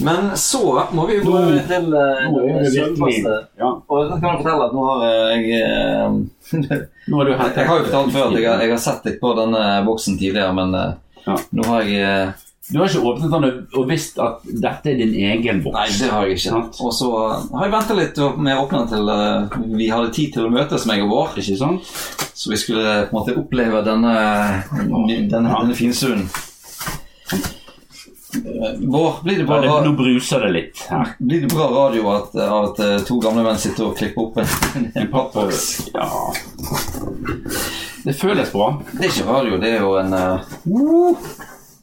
Men så må vi jo gå Nå- over til eh, Nå er det virkelig sølvfaste. ja. Og så kan jeg fortelle at nå har jeg eh, [laughs] Nå har du hentet Jeg har jo fortalt før at jeg, har- jeg har sett litt på denne boksen tidligere, men eh, Ja. nå har jeg eh, Du har ikke åpnet den og- og visst at dette er din egen boks. Nei, det har jeg ikke. Sant. Og så eh, har jeg venta litt med å åpne den til eh, vi hadde tid til å møtes, meg og Bård. Ikke sant? Så vi skulle eh, på en måte oppleve denne, eh, denne, denne finstunden. Eh, Bård, blir det Ja, bra, det, ra- nå bruser det litt her. blir det bra radio at, av at eh, to gamle menn sitter og klipper opp en, en [laughs] pappboks? Ja. Det føles bra. Det er ikke radio, det er jo en eh,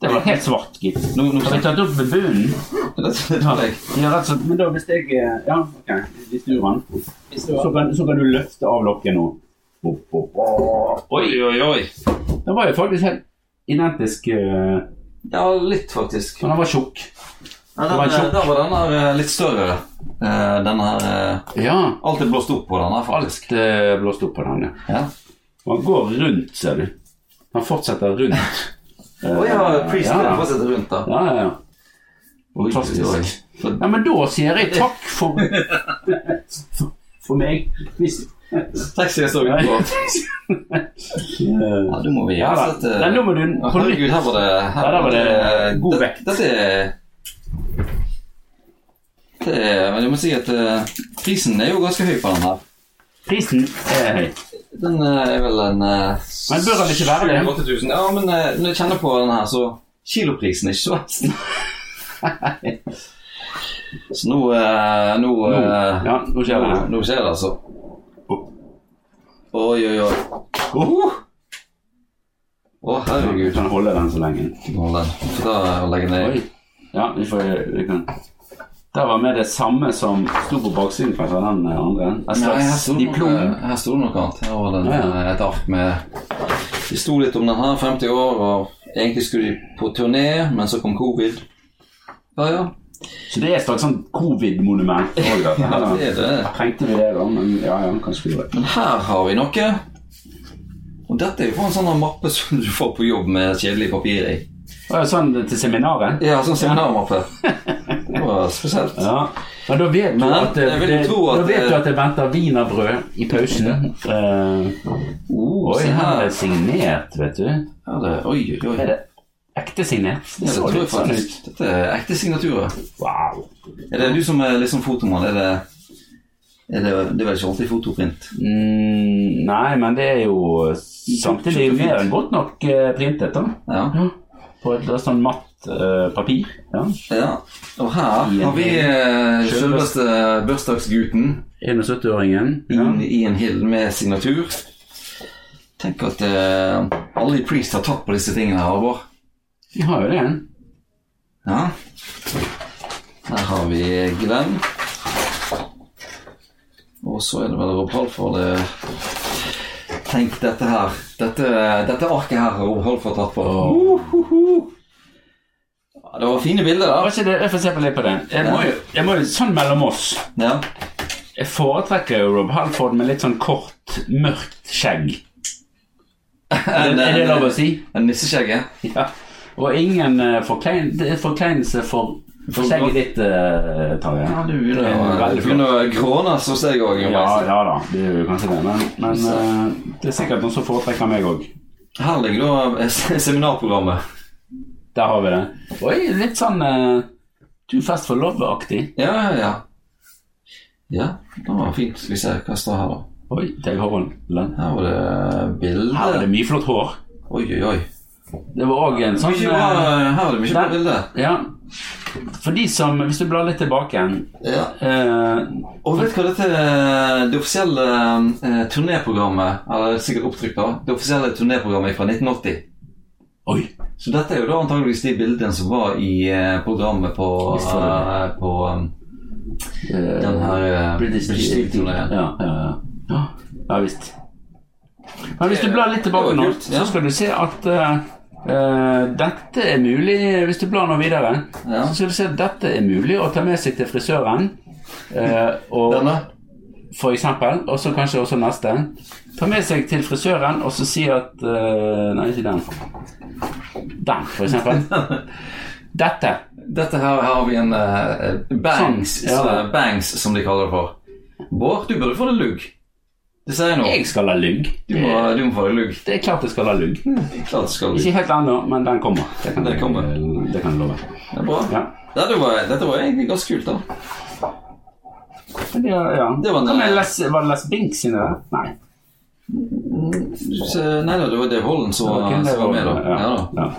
Det var helt svart, gitt. Nå, nå Har vi tatt opp med bunnen? Dette tar jeg. Ja, rett og slett. Men da hvis jeg eh, Ja, ok. Vi snur den. Så kan, så kan du løfte av lokket nå. Opp, opp, opp. Oi! oi, oi. Den var jo faktisk helt identisk, eh, Ja, litt faktisk. men den var tjukk. Ja, Det var en den, sjokk. der var den her eh, litt større. Eh, Den her eh, Ja. Alt er blåst opp på den her, faktisk. Alt eh, blåst opp på den. ja. Ja. Og han går rundt, ser du. Han fortsetter [laughs] rundt. Å Eh, ja, Priest ja. får sitte rundt, da. Ja, ja, ja. Oi, eh, oi, oi. Fantastisk. For- Ja, men da sier jeg takk [laughs] for for- For meg. Hvis, Taxi er så Nei. utgått. Eh, Ja, da må vi ja da. sette Nei, nå må du på nytt. Herregud, her var det her Ja, der var det eh, god det- vekt. Dette er det er, men jeg må si at eh, prisen er jo ganske høy på den her. [laughs] Prisen er høy. Den eh, er vel en uh, Men bør den ikke være det? 8000. Ja, men eh, når jeg kjenner på den her, så kiloprisen er ikke så verst. [laughs] så nå eh, Nå, Nå, eh, ja, nå skjer det nå, her. nå skjer det, altså. Oi, oi, oi. Å, Oh, vi herregud. kan holde den så lenge. Hold den. Får ta og legge ned. Oi. Ja, vi får vi kan. Der var med det samme som sto på baksiden kanskje, av den andre. En Nei, her slags sto det diplom. noe, Eh, her sto det noe annet. Her var det en, eh, Ja, et ark med De sto litt om den her, 50 år, og egentlig skulle de på turné, men så kom covid. Ja, ja. Så det er et slags sånn covid-monument. [laughs] også, dette her, da. Det er det. Trengte vi det, da? Men ja, ja, kanskje vi gjorde det. Men her har vi noe. Og dette er jo en sånn mappe som du får på jobb med kjedelig papir i. Å, ja, Sånn til seminaret? Ja, sånn seminarmappe. Det var spesielt. Ja, men da vet du Men at det, jeg vil jo det- tro at da vet det- du at det venter wienerbrød i pausen. Eh, Oh, oi, se her er her. det signert, vet du. Ja, det, oi, oi, Er oi. det ekte signert? Ja, Det det så tror jeg litt sånn faktisk. ut. Dette er ekte signaturer. Wow. Er det du som er liksom fotomann? Er det, er det, det er vel ikke alltid fotoprint? Mm, nei, men det er jo samtidig mer enn godt nok eh, printet, da. Ja. På et sånn matt eh, papir. Ja. ja. Og her I en har vi eh, selveste bursdagsgutten 71-åringen. Ja. inn i en hill med signatur. Tenk at eh, alle i Priest har tatt på disse tingene her, Halvor. Vi har jo det. Ja. Her har vi Glenn. Og så er det vel Rob Halford. eh. Tenk dette her. Dette, dette arket her har Rob Halford tatt på. Åh. Ja, det var fine bilder, Hva da. er det? Jeg får se på litt på det. Jeg må jo, jeg må jo sånn mellom oss. Ja. Jeg foretrekker jo Rob Halford med litt sånn kort, mørkt skjegg. Er det, er det lov å si? En nisseskjegge. Ja. Og ingen eh, forklein, det er forkleinelse for Forsegget ditt, eh, Tarjei. Ja, du Det er begynner å- du veldig flott. begynner å gråne hos deg òg. Ja, ja da, det er jo kanskje det. Men, men eh, det er sikkert noen som foretrekker meg òg. Her ligger da eh, se- seminarprogrammet. Der har vi det. Oi, litt sånn eh, Too Fast for Love-aktig. Ja, ja, ja. Ja, det var fint. Skal vi se hva står her, da. Oi, Dave Holland. Her var det Her er bilde. det mye flott hår. Oi, oi, oi. Det var òg en sånn Mye eh, bra- Her er det mye bra der. bilde. Ja. For de som Hvis du blar litt tilbake igjen Ja. eh, Og vet du hva dette eh, det offisielle eh, turnéprogrammet Eller sikkert opptrykt da Det offisielle turnéprogrammet er fra 1980. Oi! Så dette er jo da antageligvis de bildene som var i eh, programmet på, Visst var det. eh, på um, eh, den her eh, British Steel-turneen. Ja, ja, ja. ja visst. Men hvis du blar litt tilbake Det var nå, kult, ja. så skal du se at eh, eh, dette er mulig Hvis du blar nå videre, Ja. så skal du se at dette er mulig å ta med seg til frisøren. eh, og Denne? for eksempel, og så kanskje også neste. Ta med seg til frisøren og så si at eh, Nei, ikke den. Den, for eksempel. [laughs] Dette. Dette her, her har vi en eh, bangs, Sånn, ja. så- bangs, som de kaller det for. Bård, du burde få deg lugg. Det sier jeg nå. Jeg skal ha lugg. Du må, Mm. du må få deg lugg. Det er klart jeg skal ha lugg. Klart skal du. Ikke helt ennå, men den kommer. Det kan, Den jeg- kommer. Det kan jeg love. Det er bra. Ja. Dette var, dette var egentlig ganske kult, da. Men det- ja. Det var en- eh, Men Les, var det Les Binks sine der? Nei. Så, nei da, det var Dave Holland som det var var, kun det som var med, da. var- Ja, da. ja.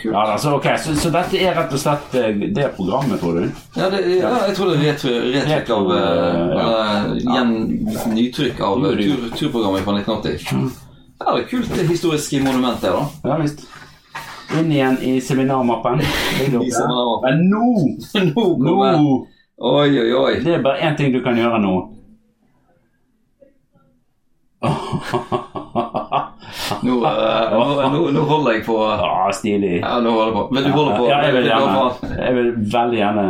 Kult. Ja, da, så, ok, så, så dette er rett og slett eh, det programmet, tror du? Ja, det, ja, jeg tror det er retry- retrykk Retro, av eh, eh, ja. Eller gjen, nytrykk av eh, Nytrykk. Mm. tur, turprogrammet fra 1980. Ja, det er kult det historiske monumentet her, da. Ja visst. Inn igjen i seminarmappen. Ligger oppe. [laughs] I seminarmappen. Men [laughs] nå! Nå kommer Nå! Oi, oi, oi. Det er bare én ting du kan gjøre nå. [laughs] Nå, eh, nå, nå, nå holder jeg på Ja, ah, stilig. nå holder jeg på. Men du holder på? Ja, jeg vil Du holder på. gjerne Jeg vil veldig gjerne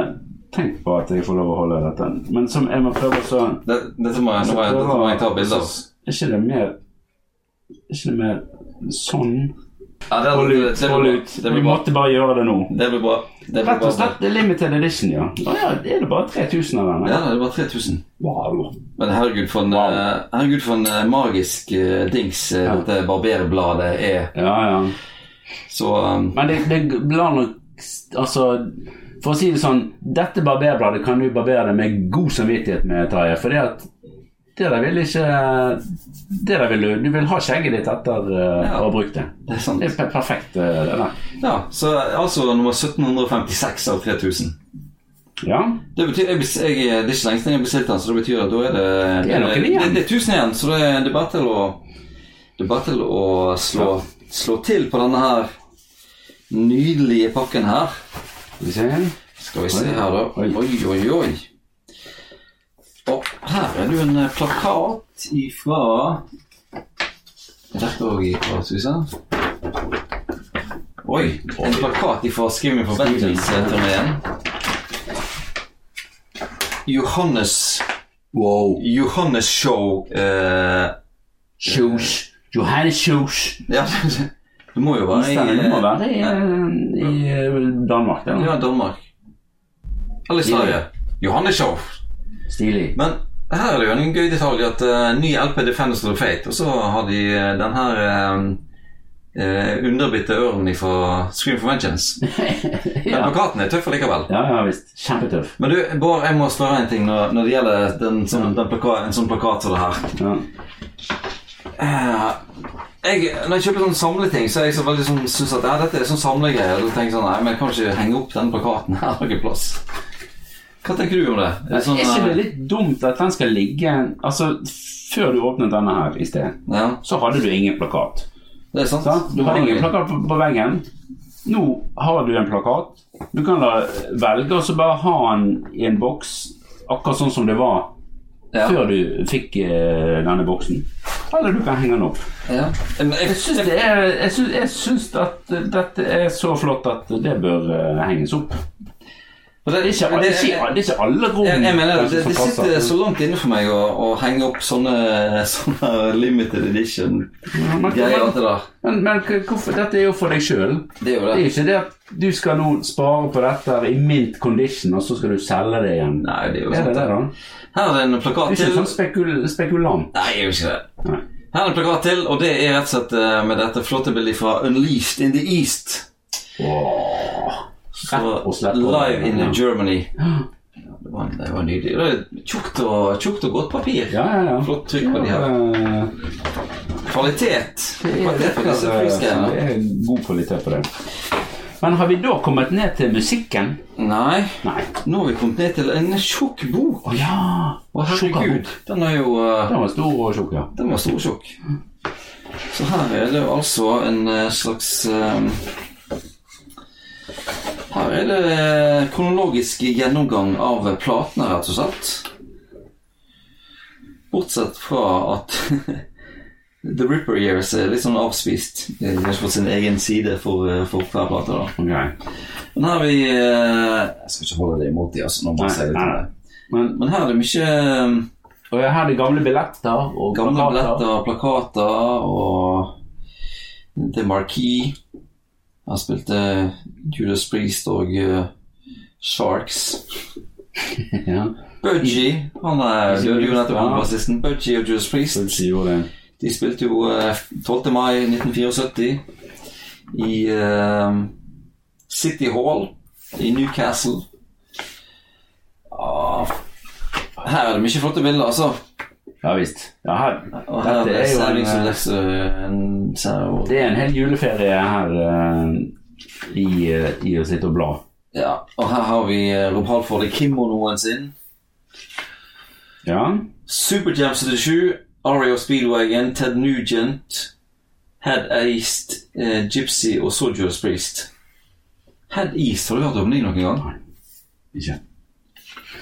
Tenk på at jeg får lov å holde dette. Men som jeg må prøve å så Det- Dette må jeg, nå må jeg, dette må jeg ta bilde av. Er ikke det mer Er ikke det mer sånn? Ja, det, Hold det, ut. det, Hold blir ut. bra. det Vi blir bra. måtte bare gjøre det nå. Det blir bra. Det blir Rett og bra. slett det er limited edition, ja. Å ja, er det bare 3000 av denne? Ja, det var 3000. Wow. Men herregud, for en, Wow. eh, herregud for en eh, magisk eh, dings eh, Ja. dette barberbladet er. Ja, ja. Så eh, Men det, det blar nok Altså, for å si det sånn Dette barberbladet kan du barbere deg med god samvittighet med, Tarjei. For det at det der vil ikke Det der vil du Du vil ha skjegget ditt etter eh, Ja. å ha brukt det. Det er sant. Det er per- perfekt, eh, det der. Ja, så altså nummer 1756 av 3000. Ja. Det betyr, jeg, bes- jeg, det er ikke lenge siden jeg bestilte den, så det betyr at da er det Det er noe det, igjen. det er 1000 igjen, så det, er- det er bare til å Det er bare til å slå, slå til på denne her nydelige pakken her. Skal vi se Skal vi se her, da. Oi. Oi, oi, oi. Og her er det jo en eh, plakat ifra Er Dette òg ifra Susanne. Oi, en plakat ifra Skriv min forventnings-turneen. Johannes Wow. Johannes Show eh, Shoes. Johannes Shoes. Ja, [laughs] det må jo være i Det må være i, eh, eh, i eh, Danmark. Det, Ja, Danmark. Eller Sverige. Johannes Show. Stilig. Men her er det jo en gøy detalj at eh, ny LP Defenders of the Fate, og så har de eh, den her eh, eh, underbitte ørnen fra Scream for Vengeance. Men [laughs] ja. plakaten er tøff allikevel. ja, ja visst. Kjempetøff. Men du, Bård, jeg må spørre en ting når, når det gjelder den, sånn, den plaka, en sånn plakat som det her. Ja. Eh, jeg, når jeg kjøper sånne samleting, så er jeg så veldig sånn, synes at ja, dette er sånn samlegreier. Da tenker jeg sånn, nei, men jeg kan ikke henge opp den plakaten her [laughs] noen plass. Hva tenker du om det? Er det sånn, er ikke det eh, litt dumt at den skal ligge Altså, før du åpnet denne her i sted, Ja, så hadde du ingen plakat. det er sant. Sant? Sånn. Du hadde ingen plakat på, på veggen. Nå har du en plakat. Du kan da velge og så bare ha den i en boks, akkurat sånn som det var Ja. før du fikk eh, denne boksen. Eller du kan henge den opp. Ja. Men jeg, Jeg syns, det er, jeg, syns, eh, jeg syns at dette er så flott at det bør eh, henges opp. For det, Det er ikke, det er ikke, det er ikke alle rom jeg, jeg mener, det, det som passer. sitter så langt inne for meg å, å henge opp sånne, [laughs] sånne limited edition-greier. Ja, men- alt det der. Men, men k- hvorfor, dette er jo for deg sjøl. Det er jo Det det. er ikke det at du skal nå spare på dette i mint condition, og så skal du selge det igjen. Nei, det er jo Er det sant. det, da? Her er en Du plakat er ikke til. sånn spekul spekulant? Nei, jeg er jo ikke det. Nei. Her er en plakat til, og det er rett og slett eh, med dette flotte bildet fra Unleashed in the East. Åh. Så, Rett og slett. Live in Ja. Germany. Ja, det, var, det var nydelig. Det er tjukt og, tjukt og godt papir. Ja, ja, ja. Flott trykk på de her. Ja, Kvalitet. Kvalitet på disse det flyskreiene. er god kvalitet på det. Men har vi da kommet ned til musikken? Nei, Nei. nå har vi kommet ned til en tjukk bok. Å ja! Å, herregud. Den er jo eh, Den var stor og tjukk, ja. Den var stor tjukk. Så her er det jo altså en eh, slags eh, Her er det eh, kronologisk gjennomgang av platene, rett og slett. Bortsett fra at [laughs] The Ripper Years er litt sånn avspist. De har ikke fått sin egen side for, eh, for hver plate, da. Ok. Men her har vi eh, Jeg skal ikke holde det imot dem, altså. Når Nei, man ser litt nei, om nei. det. Men Men her er det mye eh, og her er det gamle billetter og Gamle plakater. billetter, plakater og The Marquis. Han spilte Judas eh, Priest og eh, Sharks. [laughs] Ja. Budgie han er Ikke døde jo minst, nettopp, ja. han bassisten. Budgie og Judas Så Priest. de gjorde det. De spilte jo eh, 12. mai 1974 i eh, City Hall i Newcastle. Ah, her er det mye flotte bilder, altså. Ja visst. Ja, her, Og her dette er er jo en, Sæving som eh, leser en sau. det er en hel juleferie her eh, i, eh, i å sitte og bla. Ja, og her har vi eh, Rob Halford i kimonoen sin. Ja. Super Jam 77, Ario Speedwagon, Ted Nugent, Head East, eh, Gypsy og Sojourner's Priest. Head East, har du hørt om dem noen gang? Ikke.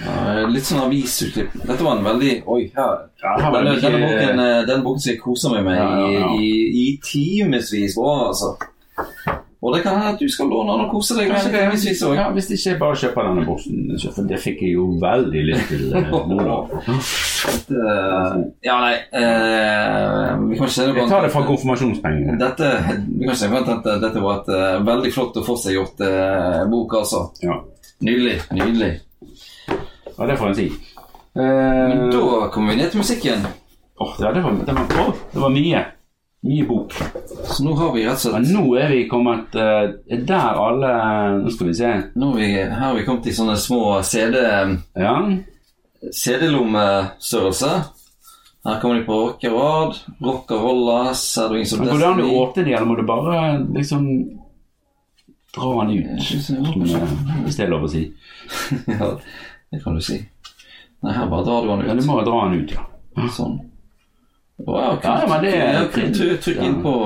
Ja, litt sånn avisutklipp. Dette var en veldig Oi, her. Ja, her var Denne, det denne, boken, mye, eh, denne boken som jeg koser meg med Ja, ja, ja. i, i, i timevis på året, altså. Og det kan hende at du skal låne den og kose deg med Kanskje den det. timevis òg. ja, hvis ikke jeg bare kjøper denne boksen, så- for det fikk jeg jo veldig lyst til eh, [laughs] nå. da. Eh, ja, nei eh, Vi kan ikke se det på Jeg tar det fra konfirmasjonspengene. dette, vi kan ikke se på at dette, dette var et eh, veldig flott og forseggjort eh, bok, altså. Ja. Nydelig. Nydelig. ja, det får en si. Eh, Men da kommer vi ned til musikken. åh, ja, det, var, det, var, åh, det var mye. Mye bok. Så nå har vi rett og Men slett nå er vi kommet eh, der alle Nå skal vi se. nå har vi, Her har vi kommet i sånne små CD, Ja. CD-lommestørrelse. Her kommer de på rockerad, rockerolla, Sedwing som Men går det an å Destiny. åpne de, eller må du bare liksom dra den ut? Jeg synes jeg Som, åpner. eh, Hvis det er lov å si. [laughs] Ja, det kan du si. Nei, her bare drar du den ut. Ja, du må dra den ut, ja. Sånn. Å, ja, Ja, kult. men det er- Ja, kult. Trykk- Trykk inn på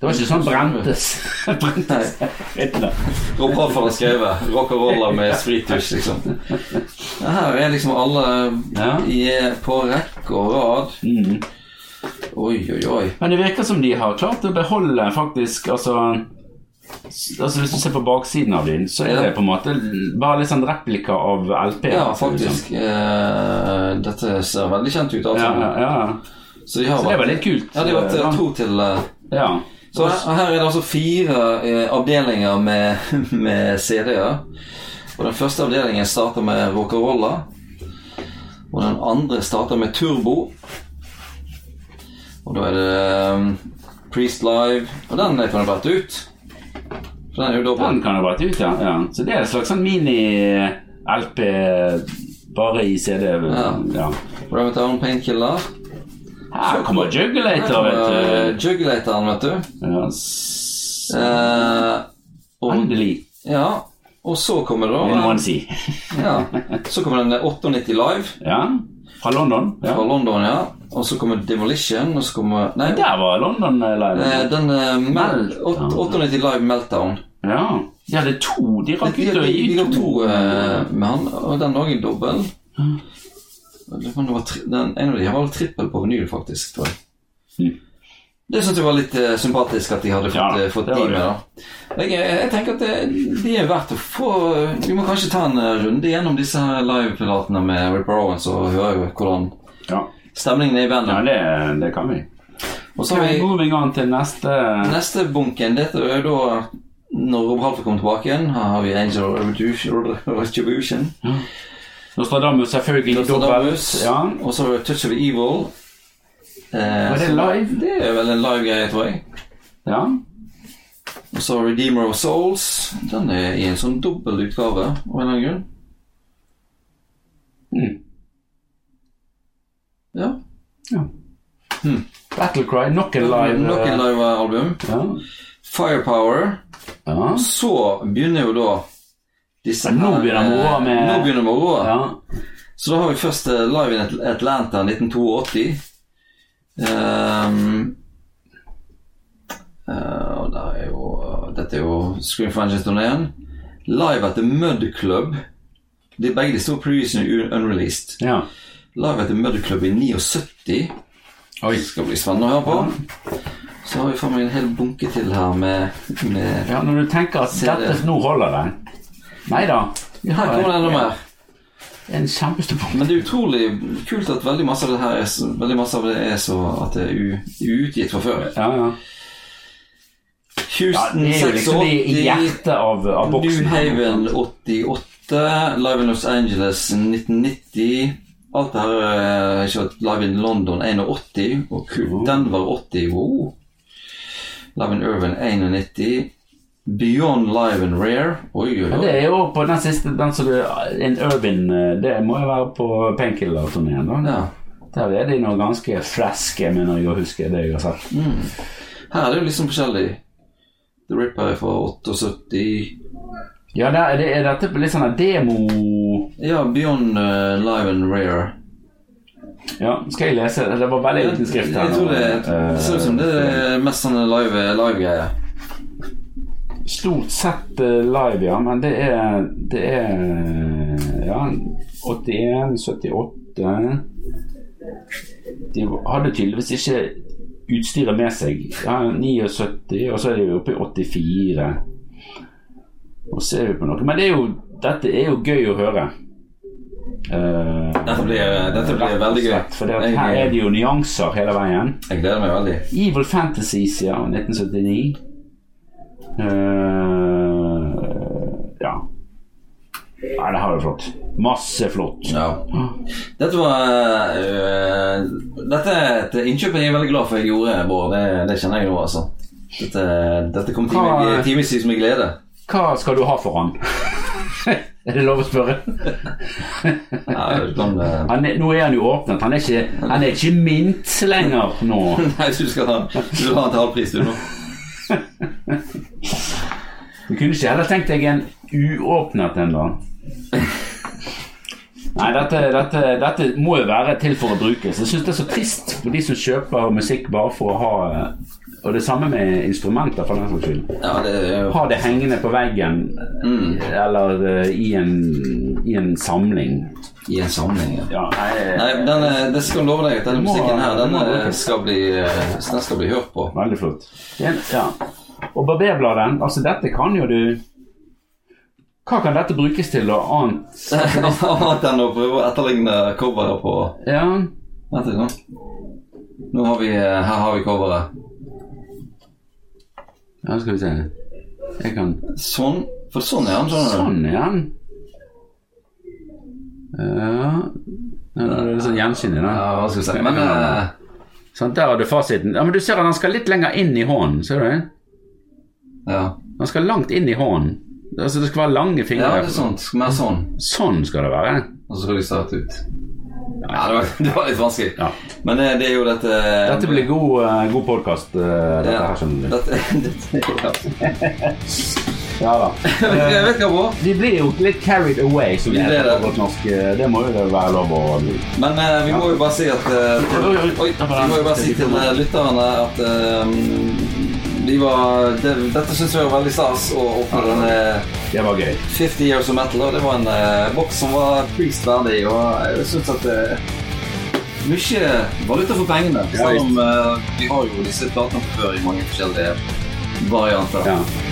Det var ikke sånn [laughs] brentes. brentes. Hetene. Rob Halford har skrevet 'Rock and roller [laughs] med sprittusj', liksom. Ja, Her er liksom alle Ja. i, på rekke og rad. Mm. Oi, oi, oi. Men det virker som de har klart å beholde faktisk altså, altså Hvis du ser på baksiden av din, så er Ja. det på en måte bare litt sånn replika av liksom. LP. Ja, ser det ut som. faktisk. Eh, dette ser veldig kjent ut. sånn. Ja, Altså. ja, ja. Så de har Så det vært, var litt kult. ja, de har vært eh, Ja. tro til eh, Ja. Så her, her er det altså fire eh, avdelinger med, [laughs] med CD-er. Og den første avdelingen starter med Rocarolla. Og den andre starter med Turbo. Og da er det eh, Priest Live. Og den er kan vært ut. For den er jo Den dobbel. kan ha vært ut, ja. ja. Så det er en slags sånn mini-LP bare i CD. Ja. Rabbit Down Painkiller. Ah, Her kommer Her Jugulator, kommer vet Jugulatoren, vet du. du. Ja. s- Eh, og, Endelig, ja. Og så kommer vil noen da [laughs] si. ja, Så kommer den 98 Live. Ja. Fra London. fra Ja. London, ja. Og så kommer Demolition, og så kommer Nei, Der var London eh, eh, live. den eh, Mel- Meltdown. åt- 98 Live Meltdown. Ja. De hadde to. De De rakk ut å gi de ga to eh, eh, med han, og den òg er dobbel. Jeg lurer på om det var tri- den- En av de har vel trippel på vinyl, faktisk. tror jeg. Mm. Det syns jeg var litt eh, sympatisk at de hadde fått, Ja, eh, fått det de var med. det. da jeg, eh, jeg tenker at det, de er verdt å få Vi må kanskje ta en eh, runde gjennom disse her livepilatene med Ripper Owens og høre jo hvordan Ja, stemningen er i ja bandet. det, det kan vi. Og så Så har vi går vi i gang til neste Neste bunken, dette er jo da når Rob Halford kommer tilbake igjen, her har vi Angel Revolution, Retribution. Nostradamus, selvfølgelig. Nostradamus. dobbelt. Ja. Og så har vi Touch of Evil. Eh, Var det så- live? Det er vel en live greie, tror jeg. Ja. Og så Redeemer of Souls. Den er i en sånn dobbel utgave, av en eller annen grunn. Mm. Ja. Hmm. Battlecry, nok en live. eh. Nok en live-album. Ja. Firepower. eh, Ja. Så begynner jo da disse Ja, nå her, begynner eh, moroa med- Nå begynner moroa. ja. Så da har vi først eh, Live in At- Atlanta 1982. Ehm, eh, og der er jo eh, Dette er jo Scream for Vengeance-turneen. Live at the Mud Club. De, begge de store producerne er un- unreleased. ja. Live at the Mud Club i 79. Oi. Det skal bli spennende å høre på. Så har vi faen meg en hel bunke til her med, med Ja, når du tenker at Ser dette det. nå holder det Nei da. Vi Her har kommer det enda mer. en kjempestor punkt. Men det er utrolig kult at veldig masse av det her er så, veldig masse av det er så at det er u, uutgitt fra før. Ja, ja. ja, Houston det er jo liksom i 86, hjertet av, av boksen. New Haven 88, Live in Los Angeles 1990. Alt det her er ikke sant, Live in London 81, og Mhm. kult. Denver 80. Wow. Live in Irvin 91. Beyond Live and Rare. Oi, oi, Ja, oi. det er jo på den siste, den som du En urban eh, Det må jo være på Painkiller-turneen, da. Ja. Der er de nå ganske flaske, mener jeg å huske det jeg har sett. Mm. Her er det jo liksom forskjellig. The Ripper er fra 78. Ja, der, er det, er dette litt sånn en demo... Ja, Beyond eh, Live and Rare. Ja, skal jeg lese? Det var veldig liten skrift her. eh, Jeg tror det, det ser ut som det er mest sånn live live greier Stort sett eh, live, ja, men det er Det er eh, Ja, 81, 78 De hadde tydeligvis ikke utstyret med seg. Ja, 79, og så er de jo oppe i 84. Og så er vi på noe Men det er jo, dette er jo gøy å høre. Eh, Dette blir- dette blir rett og veldig gøy. slett, For det at Jeg- her er det jo nyanser hele veien. Jeg gleder meg veldig. Evil Fantasies, ja, 1979. Eh, ja. Nei, det her er flott. Masse flott. Ja. Mm. Dette var eh, Dette er et innkjøp jeg er veldig glad for jeg gjorde, Bård. Det, det kjenner jeg nå, altså. Dette, dette kom time- eh, Hva- timevis med glede. Hva skal du ha for han? [laughs] er det lov å spørre? [laughs] Ja, du kan, eh, [laughs] Han er, nå er han jo åpnet. Han er ikke, han er ikke mint lenger nå. Nei, du skal ha, du vil ha en til halv pris, du nå. Du kunne ikke heller tenkt deg en uåpnet en, da? Nei, dette, dette, dette må jo være til for å brukes. Jeg syns det er så trist for de som kjøper musikk bare for å ha Og det samme med instrumenter, for den saks skyld. Ja, det er jo Ha det hengende på veggen eller eh, i en, i en samling. i en sammenheng. Ja. Ja, nei, Nei, den, eh, det skal jeg love deg at denne Du må- musikken her, den du må eh, bruke. skal bli, eh, den skal bli hørt på. [laughs] Veldig flott. Det er en- Ja. Og barberbladen, altså dette kan jo du Hva kan dette brukes til, og annet? Annet enn å prøve å etterligne coveret på Ja, Vent litt nå. Nå har vi, eh, her har vi coveret. Ja, skal vi se. Jeg kan Sånn. For sånn er han, skjønner du. Sånn igjen. Ja Ja, Det er litt sånn gjensyn i den. Ja, hva skal vi si. Men eh, Sånn, der har du fasiten. Ja, men du ser at han skal litt lenger inn i hånden. Ser du det? ja. Han skal langt inn i hånden. Altså, det skal være lange ja, fingre. det er sånn. Mer sånn. Sånn skal det være. Og så skal de starte ut. Ja, det var, [laughs] det var litt vanskelig. Ja. Men eh, det er jo dette Dette blir god, eh, god podkast, dette sånn- ja, her, skjønner du. dette, [laughs] dette, ja. Ja da. [laughs] Jeg vet hva på. Vi blir jo litt carried away, som det Vi blir heter det. på godt norsk. Eh, Det må jo det være lov å bli. Men eh, vi må jo bare si at eh, til, Oi, oi, oi. Oi, vi må jo bare si til eh, lytterne at eh, vi var det, Dette syns vi var veldig stas å åpne denne Det var gøy. 50 Years of Metal. Og det var en eh, boks som var priest verdig, og jeg syns at eh, mye valuta for pengene. Ja, Selv om eh, vi har jo disse platene før i mange forskjellige varianter. Ja.